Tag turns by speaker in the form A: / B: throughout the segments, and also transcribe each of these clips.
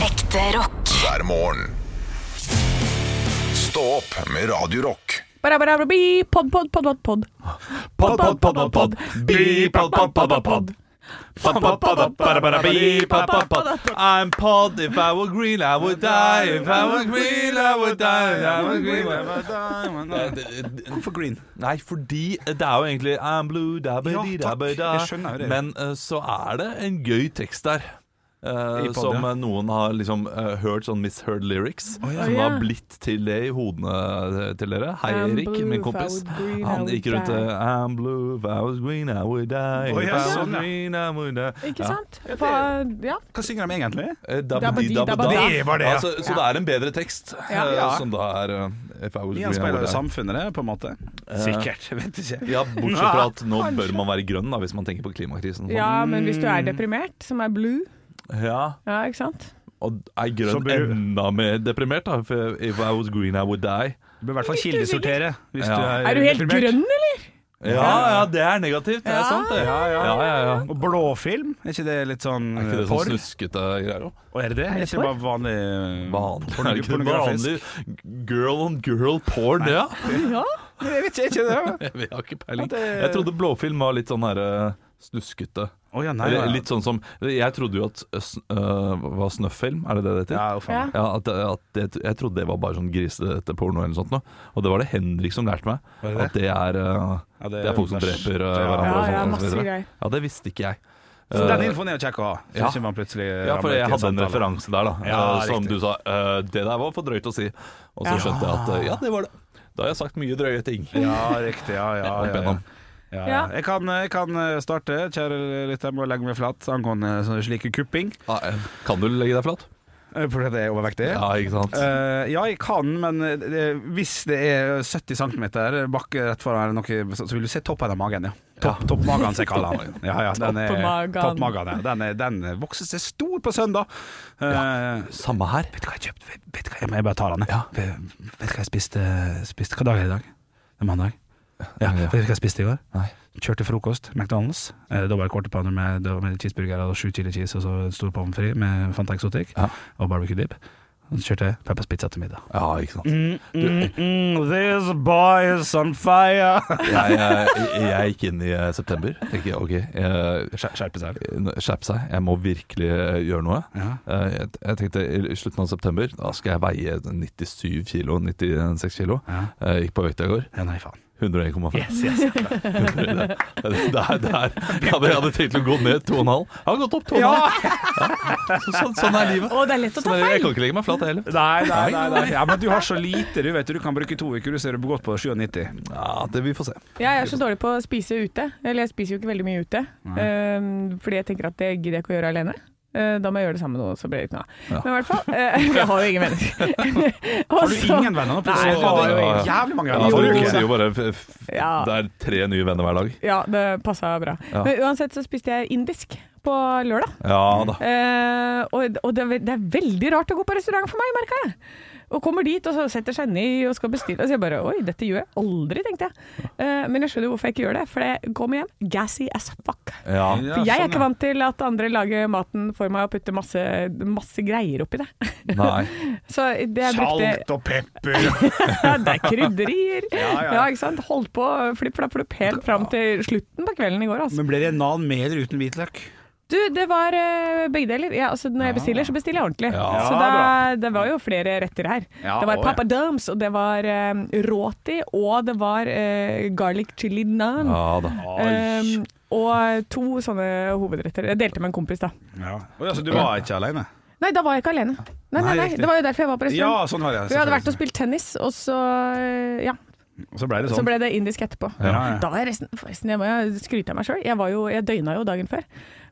A: Ekte rock.
B: hver morgen. Stå opp med Radio Rock.
C: Barabarabri, Pod, pod, pod, pod, pod.
D: Pod, pod, pod, pod, pod. Be, pod, pod, pod, pod, pod. Pod, pod, pod, pod, pod, pod, be, pod, pod, pod. I'm pod. If I were green, I would die. If I were green, I would die. If I were green, I would die.
E: Hvorfor green?
D: Nei, fordi det er jo egentlig I'm blue, da ba di
E: Ja,
D: da
E: takk.
D: ba da.
E: Jeg skjønner jo det.
D: Men eh, så er det en gøy tekst der. eh,
E: I pod,
D: som
E: ja.
D: eh, noen har liksom eh, hørt sånn misheard lyrics. Som
C: Ja.
D: har blitt til det i hodene eh, til dere. Hei,
C: I'm
D: Erik,
C: blue,
D: min
C: if I
D: kompis.
C: would green, I
D: Han
C: would
D: gikk rundt
C: die.
D: eh, I'm blue, if I was green, I would die.
E: Å,
D: If
E: ja,
D: I was
E: sånn, ja.
D: green, I would die.
C: Ikke
D: eh, Ja.
C: sant? Hva, ja.
E: Hva synger de egentlig?
D: Eh,
C: Dabba
D: Dabba-di,
C: di,
D: dabba
C: dabba
D: da.
C: da.
E: Det var det, ja.
D: Ja, Altså, så- så det er en bedre tekst,
C: Ja.
D: eh,
E: Ja.
D: som da er eh, If I was green, I
E: Gjenspeiler
D: would
E: det
D: die.
E: samfunnet, det, på en måte? Sikkert. Vet ikke.
D: Ja, bortsett fra at nå bør man være grønn, da, hvis man tenker på klimakrisen. og sånn.
C: ja, men hvis du er deprimert, som er blue
D: Ja,
C: Ja, ikke sant?
D: og er
E: Så
D: grønn
E: blir du-
D: enda mer deprimert da for If I was green I would die
E: Du bør i hvert fall kildesortere. Hvis
D: Ja.
E: du er,
C: Er du helt
E: deprimert.
C: grønn, eller?
D: Ja, ja, det er negativt, det er
C: Ja,
D: sant det Ja, ja, ja,
E: Og blåfilm, er ikke det litt sånn
D: Er ikke det sånn
E: porr?
D: snuskete greier også?
E: Og er det det? Er ikke det bare vanlig eh,
D: Vanlig,
E: porno-
D: er det ikke det
E: pornografisk?
D: vanlig girl on girl porn det, ja?
C: Ja.
E: Jeg vet ikke, er ikke det?
D: Jeg har ikke peiling
E: Ja, det-
D: Jeg trodde blåfilm var litt sånn her eh, snuskete
E: Å ja, nei.
D: Eller
E: ja.
D: Litt sånn som Jeg trodde jo at eh, sn- eh, Var snøfffilm, er det det det heter?
E: Ja, jo faen.
C: Ja.
D: Ja, at, eh, at det, jeg trodde det var bare sånn grisete porno eller noe sånt. nå. Og det var det Henrik som lærte meg.
E: Var det det?
D: At det er, eh,
E: Ja, det
D: det
E: er
D: er, folk som
E: vers-
D: dreper eh,
E: Ja.
C: Ja,
D: hverandre. og sånt,
C: ja,
D: og så
C: masse
D: videre.
C: greier.
D: Ja, det sånn. visste ikke jeg.
E: Så den
D: Eh,
E: infoen er jo kjekk å ha. Så
D: ja.
E: ikke man plutselig
D: ja, for
E: ramler ut i
D: jeg
E: en
D: hadde en
E: samtale.
D: referanse der, da.
E: Ja,
D: eh, som
E: riktig.
D: du sa eh, Det der var for drøyt å si. Og så
C: Ja.
D: skjønte jeg at eh, ja, det var det. Da har jeg sagt mye drøye ting.
E: Ja, riktig. Ja,
D: Opp
E: ja, ja, ja.
D: igjennom.
E: Ja, ja.
C: Ja.
E: Jeg, kan, jeg kan eh, starte, kjære lytter, med å legge meg flat angående eh, sånne slike kupping.
D: Ja, eh, Kan du legge deg flat?
E: eh, Fordi jeg er overvektig.
D: Ja, ikke sant?
E: Eh, ja, jeg kan, men eh, det, hvis det er 70 cm bakke rett foran eller noe, så så vil du se toppen av magen, ja. Topp, Toppmagen, som jeg kaller den. Ja, ja, den er,
C: Toppmagen.
E: toppmagen, ja. Den, er, den vokser seg stor på søndag. Eh,
D: Samme her.
E: Vet du hva jeg kjøpte? Vet- Vet du hva jeg, jeg bare tar den, jeg. Vet vet du hva jeg spiste, spiste Hva dag er det i dag? Det er mandag. Ja,
D: Ja.
E: Vet du hva jeg spiste i går?
D: Nei.
E: Kjørte frokost, McDonald's. Eh, Da var det quarterpounder med, da var det cheeseburger og sju chili cheese og så en stor pommes frites med Fanta Exotic
D: Ja.
E: og barbecue dip. Og så kjørte jeg Peppers pizza til middag.
D: Ja, ikke sant.
E: Mm, this boy is on fire!
D: Jeg, jeg, jeg gikk inn i eh, september. Tenker jeg, ok, jeg,
E: Skjerpe seg.
D: skjerpe seg. Jeg må virkelig eh, gjøre noe.
E: Ja.
D: Eh, Jeg, jeg tenkte i i slutten av september da skal jeg veie 97 kilo, 96 kilo.
E: Ja.
D: Jeg gikk på vekta i går.
E: Ja, nei, faen.
D: 101,5. Det er der jeg hadde, jeg hadde tenkt å gå ned 2,5. Jeg har gått opp 2,5. Ja. Så, sånn, sånn er livet.
C: Å, det er lett å ta
D: Sånn er det. jeg
C: feil!
D: kan ikke legge meg flat, jeg heller.
E: Nei, nei, nei, nei. Ja, men du har så lite, du vet du. Du kan bruke to uker, du ser du godt på 97.
D: Ja, det, vi får se.
C: Ja, jeg er så dårlig på å spise ute. Eller jeg spiser jo ikke veldig mye ute. eh, fordi jeg tenker at det gidder jeg ikke å gjøre alene. Eh, da må jeg gjøre det sammen med noen, så blir det ikke noe av.
D: Ja.
C: Men i hvert fall eh, Jeg har jo ingen venner.
E: Har du ingen venner nå? Plutselig
C: Nei, jeg har
E: hadde
C: jo
E: du
D: ingen.
E: jævlig mange
D: Ja,
E: venner
D: for
E: forrige
D: du
E: uke.
D: sier jo bare f- f-
C: Ja.
D: Det er tre nye venner hver dag.
C: Ja, det passa bra.
D: Ja.
C: Men uansett så spiste jeg indisk på lørdag.
D: Ja da.
C: Eh, og og det, er, ve- det er veldig rart å gå på restaurant for meg, merka jeg. Og kommer dit og så setter seg ned og skal bestille. Så jeg bare Oi, dette gjør jeg aldri, tenkte jeg. Eh, men jeg skjønner jo hvorfor jeg ikke gjør det. For det kommer hjem gassy as fuck.
D: Ja.
E: Ja,
C: For jeg er
E: sånn,
C: ikke vant til at andre lager maten for meg og putter masse, masse greier oppi det.
D: Nei.
C: Så det jeg brukte
E: Salt og pepper.
C: ja, Det er krydderier.
E: Ja, ja.
C: ikke sant. Holdt på flipp-flapp-flupp helt fram til slutten på kvelden i går, altså.
E: Men ble det nan med eller uten hvitløk?
C: Du, det var eh, begge deler. Ja, altså, når jeg bestiller, så bestiller jeg ordentlig.
D: Ja,
C: så
E: bra.
C: det, det var jo flere retter her.
E: Ja,
C: det var
E: å, ja.
C: papadums, og det var eh, roti, og det var eh, garlic chili naan.
D: Ja da.
C: Um, og to sånne hovedretter. Jeg delte med en kompis, da.
E: Ja. Oi, altså, du var ikke alene?
C: Nei, da var jeg ikke alene. Nei,
E: Nei,
C: nei, nei.
E: riktig.
C: Det var jo derfor jeg var på
E: Ja,
C: restaurant.
E: sånn har jeg
C: Vi hadde vært og spilt tennis, og så, eh, ja,
E: Så ble det
C: så
E: sånn.
C: ble det indisk etterpå.
E: Ja, ja.
C: Da var jeg resten, forresten, jeg må jo skryte av meg sjøl. Jeg, var jo- jeg døgna jo dagen før.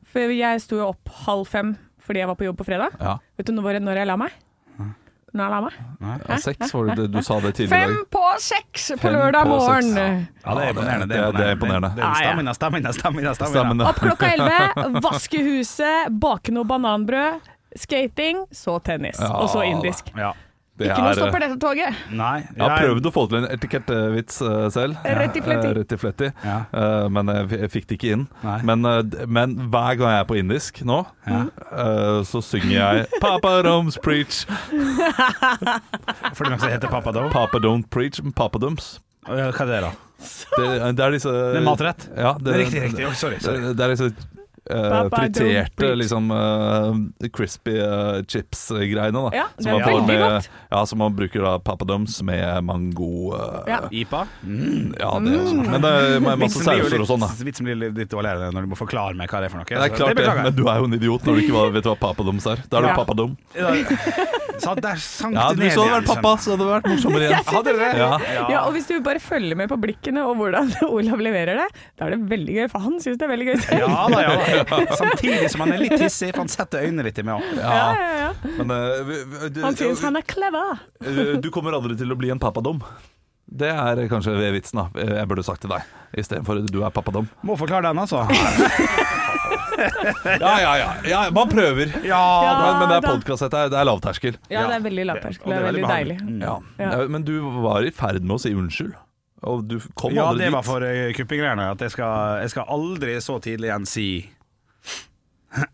C: For jeg sto jo opp halv fem fordi jeg var på jobb på fredag.
D: Ja.
C: Vet du når, når jeg la meg? Når jeg la meg?
D: Ja, seks var det det du sa det tidligere i
C: Fem
D: dag.
C: på seks på
D: Fem
C: lørdag
D: på seks.
C: morgen!
E: Ja, det er imponerende.
D: det er- det er imponerende.
E: Det er
C: Ah, ja.
E: Stamina, stamina, stamina. stamina.
D: Stemmen, ja.
C: Opp klokka elleve, vaske huset, bake noe bananbrød, skating, så tennis.
D: Ja,
C: og så indisk.
E: Ja.
D: Det
C: Ikke noe
D: er- eh,
C: stopper dette toget.
E: Nei.
D: Jeg har prøvd å få til en etikettvits eh, selv.
C: Rett i fletti.
D: Eh, Rett i fletti.
E: Ja.
D: Eh, Men jeg f- jeg fikk det ikke inn.
E: Nei.
D: Men, eh, d- men hver gang jeg er på indisk nå, eh, så synger jeg 'Papa Roms preach'.
E: Fordi det heter Papa Dough.
D: Papa don't preach, men Papa dums.
E: Hva er det, da?
D: Det, det er disse
E: Det er matrett.
D: Ja, det,
E: Riktig, riktig. Oi, sorry. sorry.
D: Det, det er disse eh,
C: Papa don't
D: friterte,
C: preach.
D: liksom eh, crispy eh, chips-greiene, da.
C: Ja, det
D: Som eh,
C: er
D: man får
C: veldig
D: med,
C: godt.
D: ja, som man bruker da pappadums med mango eh,
C: Ja. Mm.
E: IPA?
D: Ja, det også. Men det er masse
E: Vitsen blir jo
D: sauser og
E: litt-
D: sånn, da.
E: Vitsen blir litt- litt dårligere når du må forklare meg hva det er for noe.
D: Det er klart det, men du er jo en idiot når du ikke vet hva papadums er. Da er du
C: Ja.
D: pappadum.
E: Så der sank
D: Ja,
E: det ned
D: Hvis du hadde
E: igjen,
D: vært pappa, så hadde det vært morsommere igjen.
E: Hadde dere det?
D: Ja.
C: Ja, og hvis du bare følger med på blikkene og hvordan Olav leverer det, da er det veldig gøy, for han syns det er veldig gøy selv.
E: Ja da, ja da. Samtidig som han er litt hissig, for han setter øynene litt i meg òg.
D: Ja,
C: Ja, ja, ja.
D: men eh, vi- vi- du,
C: Han syns han er clever.
D: eh, du kommer aldri til å bli en pappadum. Det er kanskje vitsen, da. Eh, Jeg burde sagt til deg istedenfor du er pappadum.
E: Må forklare den, altså.
D: Ja, ja, ja. ja man prøver.
E: Ja,
D: men, men det er
C: da.
D: podkast, det, er- det er lavterskel.
C: Ja, det er veldig lavterskel.
E: Og
C: Det er veldig deilig.
E: behagelig. Mm.
D: Ja.
C: Ja.
D: Eh, Men du var i ferd med å si unnskyld, og du kom
E: Ja,
D: aldri
E: det
D: dit.
E: var for eh, kuppingreiene. At jeg skal, jeg skal aldri så tidlig igjen si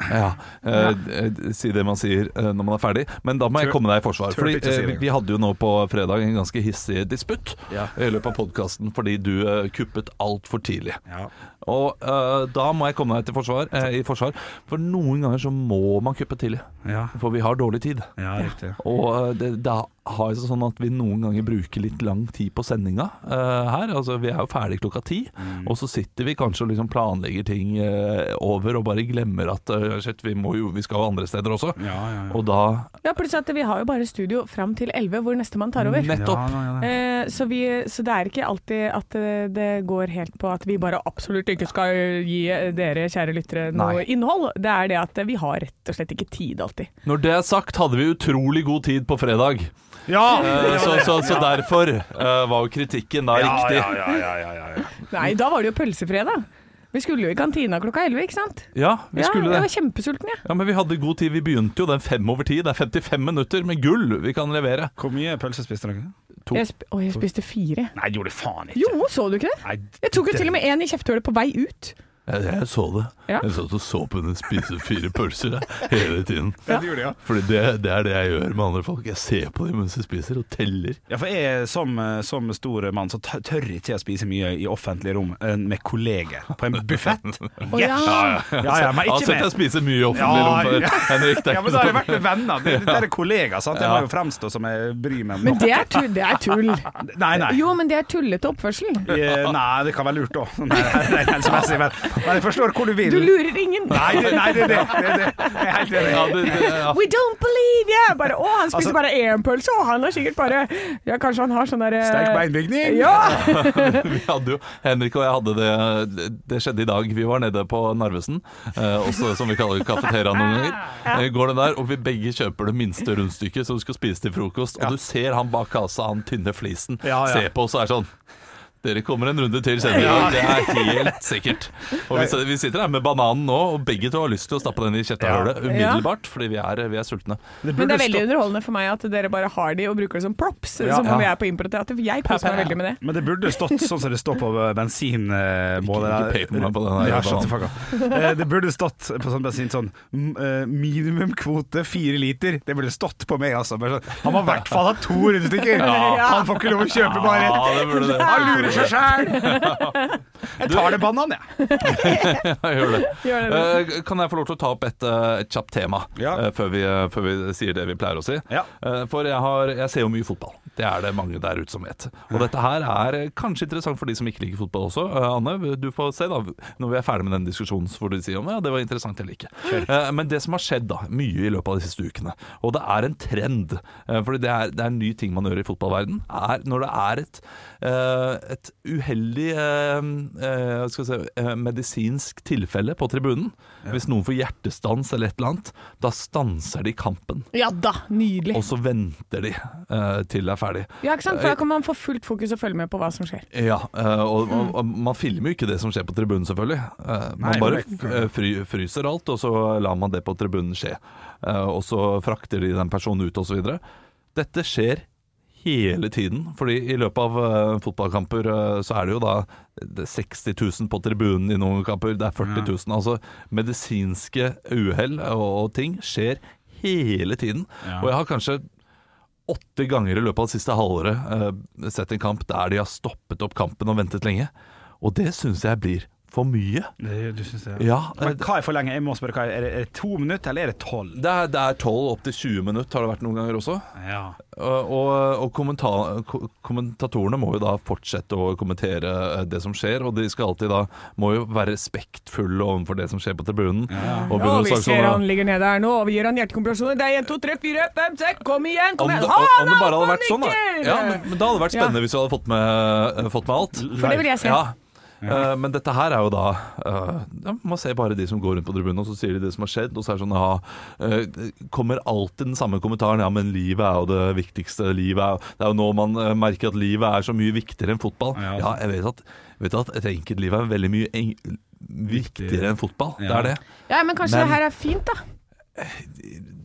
D: Ja, eh, eh, Si det man sier eh, når man er ferdig. Men da må jeg
E: Tør-
D: komme deg i forsvar.
E: tør
D: Fordi
E: ikke å si det
D: eh, Vi hadde jo nå på fredag en ganske hissig disputt
E: Ja.
D: i løpet av podkasten fordi du eh, kuppet altfor tidlig.
E: ja.
D: Og eh, da må jeg komme deg til forsvar, eh, i forsvar, for noen ganger så må man kuppe tidlig.
E: Ja.
D: For vi har dårlig tid.
E: ja, riktig.
D: Og eh, det, det har jo sånn at vi noen ganger bruker litt lang tid på sendinga eh, her. Altså Vi er jo ferdig klokka ti,
E: Mm.
D: og så sitter vi kanskje og liksom planlegger ting eh, over og bare glemmer at eh, shit, vi, må jo, vi skal jo andre steder også.
E: Ja, ja, ja.
D: Og da
C: Ja, plutselig at vi har jo bare studio fram til 11, hvor nestemann tar over.
D: Nettopp.
E: Ja, ja, ja.
C: Eh, så, vi, så det er ikke alltid at eh, det går helt på at vi bare absolutt ikke skal gi eh, dere kjære lyttere noe
D: Nei.
C: innhold. Det er det at vi har rett og slett ikke tid alltid.
D: Når det er sagt, hadde vi utrolig god tid på fredag.
E: ja.
D: Eh, så, så, så derfor eh, var jo kritikken da
E: Ja,
D: riktig.
E: ja, ja, ja, ja, ja, ja.
C: Nei, da var det jo pølsefredag. Vi skulle jo i kantina klokka 11, ikke sant?
D: Ja, vi skulle
C: Ja, jeg
D: det.
C: var kjempesulten, jeg.
D: Ja, Men vi hadde god tid. Vi begynte jo den fem over ti. Det er 55 minutter med gull vi kan levere.
E: Hvor mye pølse spiste dere?
D: To.
C: Jeg, sp å, jeg spiste fire.
E: Nei, gjorde det faen ikke.
C: Jo, så du ikke det?
E: Nei,
C: Jeg tok jo til og med en i kjefthullet på vei ut.
D: Jeg, jeg så det.
C: Ja.
D: Jeg satt og så på henne spise fire pølser jeg, hele tiden.
E: Ja, det gjorde jeg, ja.
D: Fordi det, det er det jeg gjør med andre folk. Jeg ser på dem mens de spiser, og teller.
E: Ja, for jeg som, eh, som stor mann så tør- tør ikke jeg å spise mye i offentlige rom eh, med kolleger på en buffett.
C: Å, ja.
E: ja, ja, men
D: Jeg har
E: ikke
D: sett
E: Altså,
D: deg
E: med.
D: spise mye i offentlig
E: Ja,
D: rom før,
E: ja.
D: Henrik. Det er
E: Ja, men
D: ikke
E: da har jeg
D: noe-
E: vært med venner. Det, det er kollegaer, sant. Jeg må jo fremstå som jeg bryr meg om
C: Men
E: noe.
C: det er, tull, det er tull.
E: Nei, nei.
C: Jo, men det er tullete oppførsel.
E: Eh, Nei, det kan være lurt òg. Helsemessig. Men men jeg forstår hvor du vil.
C: Du lurer ingen.
E: Nei, det, nei, det er det. det, er det. Jeg er helt
D: ja,
E: enig.
D: det, det, ja.
C: We don't believe you! Bare, å, han spiser
E: Altså-
C: bare én pølse, og han har sikkert bare Ja, kanskje han har sånn derre
E: Sterk beinbygning.
C: Ja!
D: Vi hadde jo, Henrik og jeg hadde det Det skjedde i dag. Vi var nede på Narvesen, eh, også som vi kaller kafeteriaen noen ganger. Eh, går det der, og vi begge kjøper det minste rundstykket som du skal spise til frokost. Og du ser han bak kassa, han tynne flisen,
E: Ja, ja.
D: ser på oss og er sånn dere kommer en runde til senere, og det er helt sikkert. Og vi, vi sitter her med bananen nå, og begge to har lyst til å stappe den i kjøttahullet umiddelbart, fordi vi er, vi er sultne.
C: Men det er veldig underholdende for meg at dere bare har de og bruker det som props,
E: Ja.
C: som om
E: Ja.
C: jeg er på improteater. for Jeg koser meg veldig med det.
E: Men det burde stått sånn som det står på bensinmålet.
D: Ikke- ikke pek på meg på den her,
E: Ja,
D: Jan.
E: shut the fuck up. Eh, Det burde stått på sånn bensin sånn mm, eh, minimumkvote fire liter. Det burde stått på meg, altså. Bare sånn, Han må i hvert fall ha to rundstykker!
C: Ja.
E: Han får ikke lov å kjøpe bare
D: Ja,
E: ett.
D: det burde det.
E: Han lurer seg sjæl! Jeg tar det banan, jeg.
D: Ja, gjør det.
C: Gjør det.
D: Eh, kan jeg få lov til å ta opp et, eh, et kjapt tema
E: Ja.
D: eh, før, vi, eh, før vi sier det vi pleier å si?
E: Ja.
D: Eh, for jeg, har, jeg ser jo mye fotball. Det er det mange der ute som vet. Og dette her er eh, kanskje interessant for de som ikke liker fotball også. Eh, Anne, du får se da når vi er ferdig med den diskusjonen, så får du si om ja, det var interessant eller ikke. Eh, men det som har skjedd da, mye i løpet av de siste ukene, og det er en trend, uh, fordi det er, det er en ny ting man gjør i fotballverden, er når det er et, eh, et uheldig eh, eh, skal vi se, eh, medisinsk tilfelle på tribunen. Hvis noen får hjertestans eller et eller annet, da stanser de kampen.
C: Ja da, nydelig.
D: Og så venter de eh, til det er ferdig.
C: Ja, ikke sant?
E: eh,
C: For da kan man få fullt fokus og følge med på hva som skjer.
D: Ja, eh, og, og, og man filmer jo ikke det som skjer på tribunen, selvfølgelig. Eh, man
E: Hmm. Nei,
D: bare
E: korrekt.
D: f- eh, fry, fryser alt, og så lar man det på tribunen skje. Eh, og så frakter de den personen ut, og så videre. Dette skjer hele tiden, fordi i løpet av eh, fotballkamper eh, så er det jo da det er 60 000 på tribunen i noen kamper, det er 40 000. Altså medisinske uhell og, og ting skjer hele tiden.
E: Ja.
D: Og jeg har kanskje åtte ganger i løpet av det siste halvåret eh, sett en kamp der de har stoppet opp kampen og ventet lenge. Og det syns jeg blir for mye.
E: Det- Du synes det?
D: Ja,
E: Men
D: eh,
E: hva er for lenge? Jeg må spørre, hva er, er det- er det to minutter, eller er det tolv?
D: Det er, det er 12 opp til 20 minutter har det vært noen ganger også.
E: Ja.
D: Eh, Og, og- og kommenta- ko- kommentatorene må jo da fortsette å kommentere eh, det som skjer, og de skal alltid da må jo være respektfulle overfor det som skjer på tribunen. Og
C: Å,
D: begynner å
C: vi
D: snakke
C: ser
D: sånn,
C: han ligger nede her nå, og vi gir han hjertekompresjoner. Det er 1, 2, 3, 4, 5, 6, kom igjen!
D: om
C: Kom
D: det,
C: igjen.
D: om,
C: Ha,
D: om det bare hadde
C: han
D: vært sånn, da.
C: nikker!
D: Ja, men, men da hadde det vært spennende hvis du hadde fått med, eh, fått med alt.
C: For det vil jeg se.
D: Ja. Eh, men dette her er jo da eh, ja, Man ser bare de som går rundt på tribunen, og så sier de det som har skjedd. Og så er det sånn ja, eh, Kommer alltid den samme kommentaren. Ja, men livet er jo det viktigste. Livet er, jo- det er jo nå man eh, merker at livet er så mye viktigere enn fotball.
E: Ja,
D: Ja,
E: altså.
D: jeg vet at, vet at et enkeltliv er veldig mye en, viktigere enn fotball. Det
E: Ja.
D: er det.
C: Ja, men kanskje
D: Men-
C: det her er fint, da.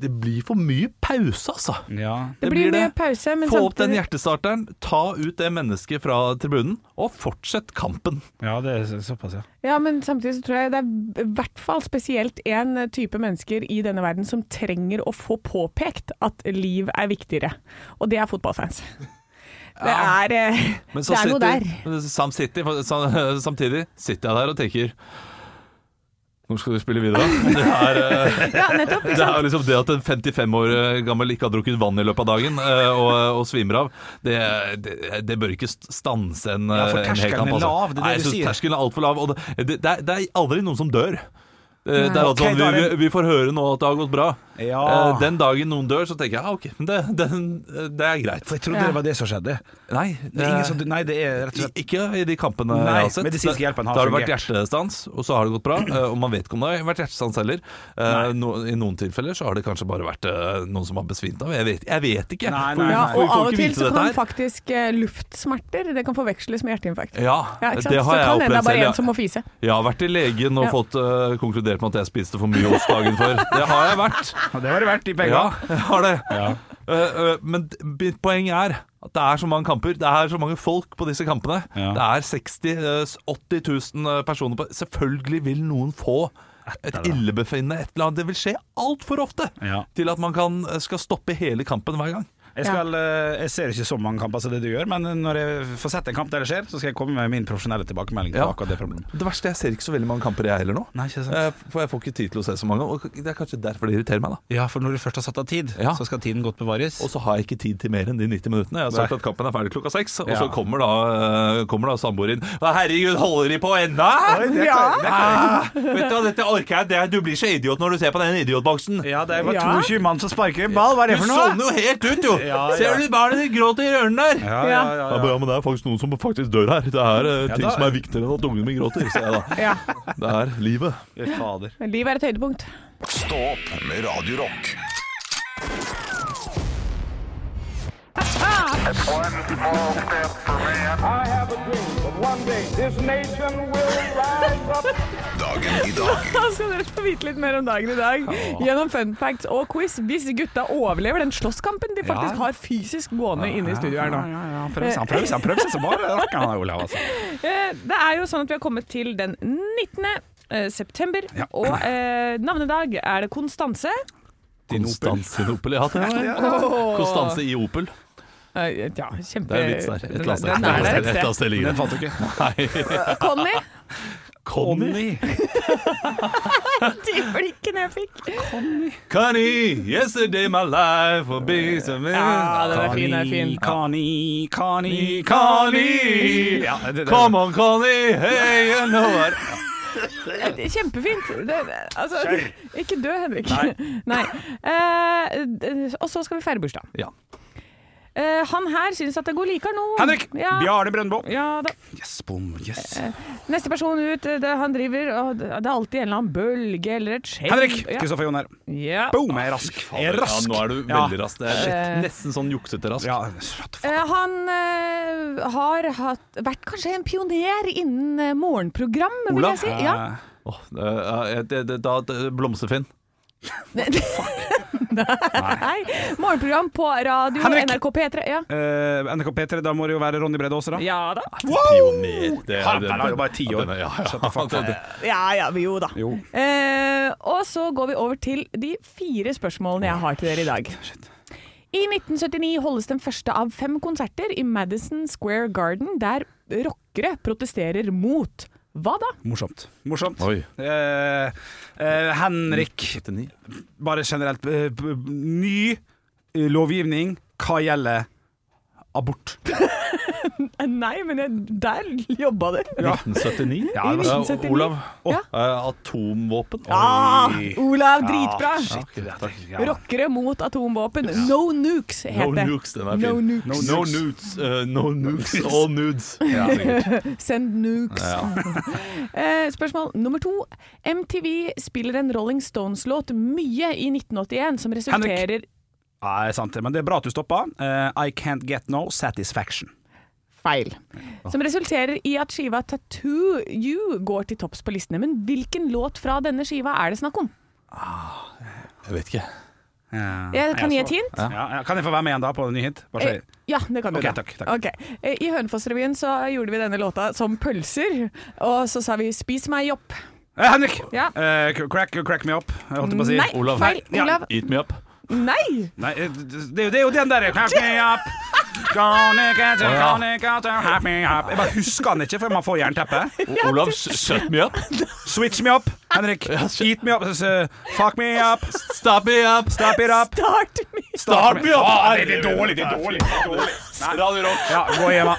D: Det blir for mye pause, altså.
E: Ja.
C: Det,
D: Det
C: blir
D: blir
C: mye
D: det.
C: pause, men
D: Få opp den
C: samtidig-
D: hjertestarteren, ta ut det mennesket fra tribunen, og fortsett kampen.
E: ja, det er så- såpass, ja.
C: Ja, men samtidig så tror jeg det er i hvert fall spesielt én type mennesker i denne verden som trenger å få påpekt at liv er viktigere, og det er fotballfans. Det
D: Ja.
C: er, eh,
D: Men
C: det er noe der.
D: sitter- Sam City, for- sam- samtidig sitter jeg der og tenker Når skal du spille videre? Det er, eh,
C: Ja, nettopp.
D: det er liksom det at en 55 år eh, gammel ikke har drukket vann i løpet av dagen eh, og, og svimer av, det, det, det bør ikke st- stanse en,
E: Ja, for
D: eh, en hel
E: terskelen
D: kamp.
E: er lav, det er det
D: Nei, jeg
E: du
D: synes
E: sier.
D: Terskelen er altfor lav. Og det, det, det, er, det er aldri noen som dør. Eh, Det er
E: Ok,
D: alltid sånn,
E: da er
D: vi,
E: det-
D: vi- vi får høre nå at det har gått bra.
E: Ja.
D: Eh, Den dagen noen dør, så tenker jeg ah, ok, men det, den, eh, det er greit.
E: For jeg trodde
C: Ja.
E: det var det som skjedde.
D: Nei,
E: Det er ingen som, nei, det er rett og slett
D: I- Ikke i de kampene
E: Nei,
D: jeg har sett.
E: medisinsk hjelpen har
D: da har det vært
E: fungert.
D: hjertestans, og så har det gått bra. eh, Og man vet ikke om det har vært hjertestans heller. Eh, no, I noen tilfeller så har det kanskje bare vært eh, noen som har besvimt av. Jeg vet, jeg vet ikke.
E: Nei,
D: For vi-
E: nei,
C: Ja,
E: nei.
D: for vi
C: og av
D: får
C: og
D: ikke
C: til
D: vite
C: så
D: dette
C: kan
D: her.
C: faktisk eh, luftsmerter Det kan forveksles med hjerteinfarkt.
D: ja,
C: Ja, ikke sant?
D: det har
C: så
D: jeg
C: kan hende det
D: opplevd
C: er bare
D: selv.
C: en som må fise.
D: Jeg, jeg har vært til legen og
C: Ja.
D: fått eh, konkludert med at jeg spiste for mye ost dagen før. Det har jeg vært.
E: Og Det har det vært i begge.
D: Ja, jeg har det.
E: Ja.
D: Eh, eh, men d- mitt poeng er at det er så mange kamper, det er så mange folk på disse kampene.
E: Ja.
D: Det er 60 eh, 80 000 eh, personer på Selvfølgelig vil noen få et
E: da.
D: illebefinnende et eller annet. Det vil skje altfor ofte
E: Ja.
D: til at man kan, eh, skal stoppe hele kampen hver gang.
E: Jeg, skal, eh, jeg ser ikke så mange kamper som det du gjør, men når jeg får sett en kamp der det skjer, så skal jeg komme med min profesjonelle tilbakemelding på
D: Ja.
E: akkurat det problemet.
D: Det verste, jeg ser ikke så veldig mange kamper jeg heller nå.
E: Nei, ikke sant?
D: Eh, For jeg får ikke tid til å se så mange. Og det er kanskje derfor det irriterer meg, da.
E: Ja, for når du først har satt av tid,
D: Ja.
E: så skal tiden godt bevares.
D: Og så har jeg ikke tid til mer enn de 90 minuttene. Jeg har sagt
E: Nei.
D: at kampen er ferdig klokka seks, og
E: Ja.
D: så kommer da, eh, kommer da samboer inn. Hva, herregud, holder de på ennå? Ah, vet du hva, dette orker jeg. Det, du blir så idiot når du ser på den idiotboksen.
E: Ja, det er
C: Ja.
E: bare 22 mann som sparker i ball, hva er
D: Du
E: det for noe?
D: sovner jo helt ut, jo!
E: Ja, ja.
D: Ser du barnet ditt gråter i ørene der?
E: Ja, ja, ja,
D: Ja,
E: ja.
D: men det er faktisk noen som faktisk dør her. Det er eh, ting
E: da-
D: som er viktigere enn at ungen min gråter, sier jeg da.
C: Ja.
D: Det er livet.
E: Fy Fader.
C: Men Liv er et høydepunkt.
B: Stå opp med Radio Rock.
A: I have a dream that one day this nation will rise up.
B: Dagen i dag
C: Da skal dere få vite litt mer om dagen i dag gjennom fun facts og quiz. Hvis gutta overlever den slåsskampen de faktisk har fysisk gående inne i studio her nå.
E: Ja, ja, Han prøver seg, han prøver seg, han prøver seg så bare rakker han der, Olav. Altså.
C: Eh, Det er jo sånn at vi har kommet til den 19. eh, september, og eh, navnedag er det Konstanse.
D: Konstantinopel. Ja, det var Konstanse i Opel.
C: Eh, Ja, kjempe...
D: Det er en vits der. Et eller annet sted.
C: Den er der
D: Et
C: et
D: eller
C: sted.
D: annet sted ligger
E: Den
D: det.
E: fant du ikke.
C: Conny,
D: Conny.
C: de blikkene jeg fikk.
D: Conny, yesterday my life will be so
C: Ja, den er fin, den er fin.
E: Kani, kani,
D: Conny!
E: Ja, det, det,
D: Come on, Conny! Hey, you know what
C: Det er Kjempefint. Det, altså, ikke dø, Henrik. Nei. Eh, d- og så skal vi feire bursdag.
D: Ja.
C: Eh, han her syns at det går likere nå.
E: Henrik!
C: Ja. Eh,
E: Bjarne Brøndbo.
C: Ja, da.
E: Yes, bom, yes.
C: Neste person ut, eh, det, han driver og Det det er alltid en eller annen bølge eller et skjelv.
E: Henrik
C: Ja.
E: Kristoffer Joner.
C: Ja.
E: Boom, jeg er rask. Jeg er rask.
D: Ja, nå er du
E: Ja.
D: veldig rask. Det er lett, nesten sånn juksete rask.
E: Ja, shut the fuck.
C: Eh, han eh, har hatt, vært kanskje en pioner innen eh, morgenprogram, vil
D: Olav?
C: jeg si. Ja.
E: Eh,
D: Åh, det, det, det, da- det, Blomsterfinn.
C: Det- Nei. Morgenprogram på radio
E: Henrik!
C: NRK P3. Ja.
E: Eh, NRK P3, da må det jo være Ronny Brede Aase, da.
C: ja da.
D: Pioner. Det,
E: Han er jo bare ti år.
D: Ja, ja,
E: Shut the fuck up.
C: Ja ja, vi jo da.
E: Jo.
C: Eh, og så går vi over til de fire spørsmålene jeg har til dere i dag. I 1979 holdes den første av fem konserter i Madison Square Garden der rockere protesterer mot hva da?
E: Morsomt. Morsomt.
D: Oi.
E: Eh, eh, Henrik,
D: 79.
E: bare generelt eh, b- b- Ny eh, lovgivning hva gjelder abort.
C: Nei, men jeg, der jobba du.
D: 1979?
E: Ja, det
C: var-
D: Eh,
C: 1979.
D: Olav,
C: Ja.
D: eh, atomvåpen?
C: Ah,
E: Oi.
C: Olav, dritbra!
E: Ja, shit, det er- ja.
C: Rockere mot atomvåpen. No nukes,
D: No
C: het det.
D: nukes, den er
C: No
D: fin.
C: nukes.
D: No nudes. eh, no nukes, all nudes. Ja, sikkert.
C: Send nukes.
D: Ja.
C: Eh, spørsmål nummer to. MTV spiller en Rolling Stones-låt mye i 1981 som resulterer
E: Nei, sant, det, men det er bra at du stoppa. Eh, I can't get no satisfaction.
C: Feil. Som resulterer i at skiva 'Tattoo You' går til topps på listene. Men hvilken låt fra denne skiva er det snakk om?
D: Jeg vet ikke.
C: Jeg kan gi
E: Eh,
C: et
E: jeg så-
C: hint.
E: Ja, ja, kan jeg få være med igjen da på en ny hint? Bare
C: Eh,
E: si
C: Ja, det kan du.
E: Ok,
C: da.
E: takk, takk.
C: Ok. Eh, I Hønefoss-revyen så gjorde vi denne låta som pølser, og så sa vi 'spis meg opp'.
E: eh, Henrik!
C: Ja.
E: Eh, crack, crack me up, jeg holdt på å si.
C: Nei,
D: Olav.
C: feil.
E: Ja.
C: Olav.
D: Eat me up.
C: Nei!
E: Nei, eh, det, det er jo- det er jo den der eh, Crack me up Gonna get you, gonna get you, crack me up Jeg bare husker den ikke før man får jernteppe
D: O- Olav, s- shut me up.
E: Switch me up, Henrik Eat me up, s- s- fuck me up
D: Stop me up.
E: Stop it up
C: Start me!
D: Stop me up.
E: Faen, det- det er dårlig, det er dårlig, det er dårlig.
D: Radio Rock.
E: Ja, gå hjem da.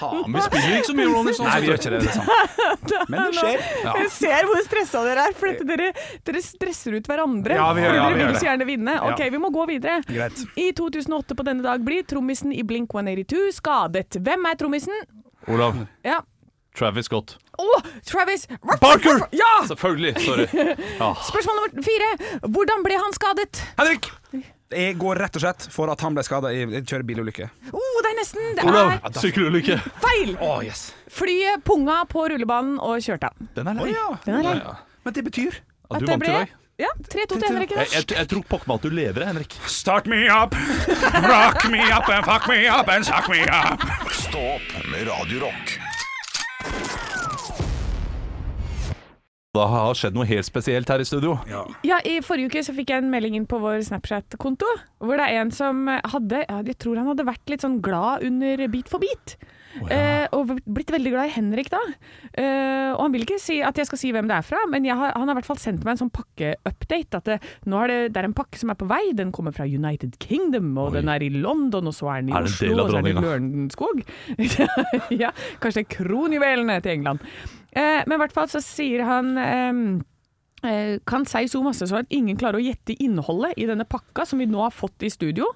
D: Faen, vi spiller ikke så mye Rolling Stones.
E: Nei, vi
D: vet
E: gjør
D: du.
E: ikke det, det er sant Men Sånn det skjer ja.
C: Jeg ser hvor stressa dere er, for dette, dere, dere stresser ut hverandre.
E: Ja, vi gjør
C: for
E: det, ja,
C: dere
E: vi gjør
C: vil
E: det.
C: så gjerne vinne. Ok, vi må gå videre.
E: Greit.
C: I 2008 på denne dag blir trommisen i Blink 182 skadet. Hvem er trommisen?
D: Olav,
C: Ja.
D: Travis Scott.
C: Å, Travis!
D: Barker!
C: Ja!
D: Selvfølgelig. Sorry.
C: Spørsmål nummer fire. Hvordan ble han skadet?
E: Henrik Jeg går rett og slett for at han ble skadet i i kjørebilulykke
C: Å, det er nesten. Det
D: Olav,
C: er
D: sykkelulykke.
C: feil!
E: Åh, yes
C: Flyet punga på rullebanen og kjørte av.
D: Den er lei.
E: Åja,
C: Den er lei.
E: men det betyr
D: Ja, du
C: det
D: vant i
C: ble-
D: dag.
C: Ja, 3-2 til Henrik.
D: Jeg, jeg, jeg tror pokker meg at du lever, Henrik.
E: Start me up, rock me up and fuck me up and suck me up
B: Stå opp med Radio Rock.
D: Da har skjedd noe helt spesielt her i studio.
C: Ja, I forrige uke så fikk jeg en melding inn på vår Snapchat-konto, hvor det er en som hadde ja, Jeg tror han hadde vært litt sånn glad under Beat for beat. eh, og blitt veldig glad i Henrik da. Eh, og han vil ikke si at jeg skal si hvem det er fra, men jeg har, han har i hvert fall sendt meg en sånn pakkeupdate. At det, nå er det, det er en pakke som er på vei. Den kommer fra United Kingdom, og den er i London, og så er den i
D: Er det en
C: Oslo,
D: del av
C: og så er den i
D: dronninga?
C: Lørenskog. ja, kanskje det er kronjuvelene til England. Eh, men i hvert fall så sier han ehm, eh, kan si så masse så at ingen klarer å gjette innholdet i denne pakka som vi nå har fått i studio.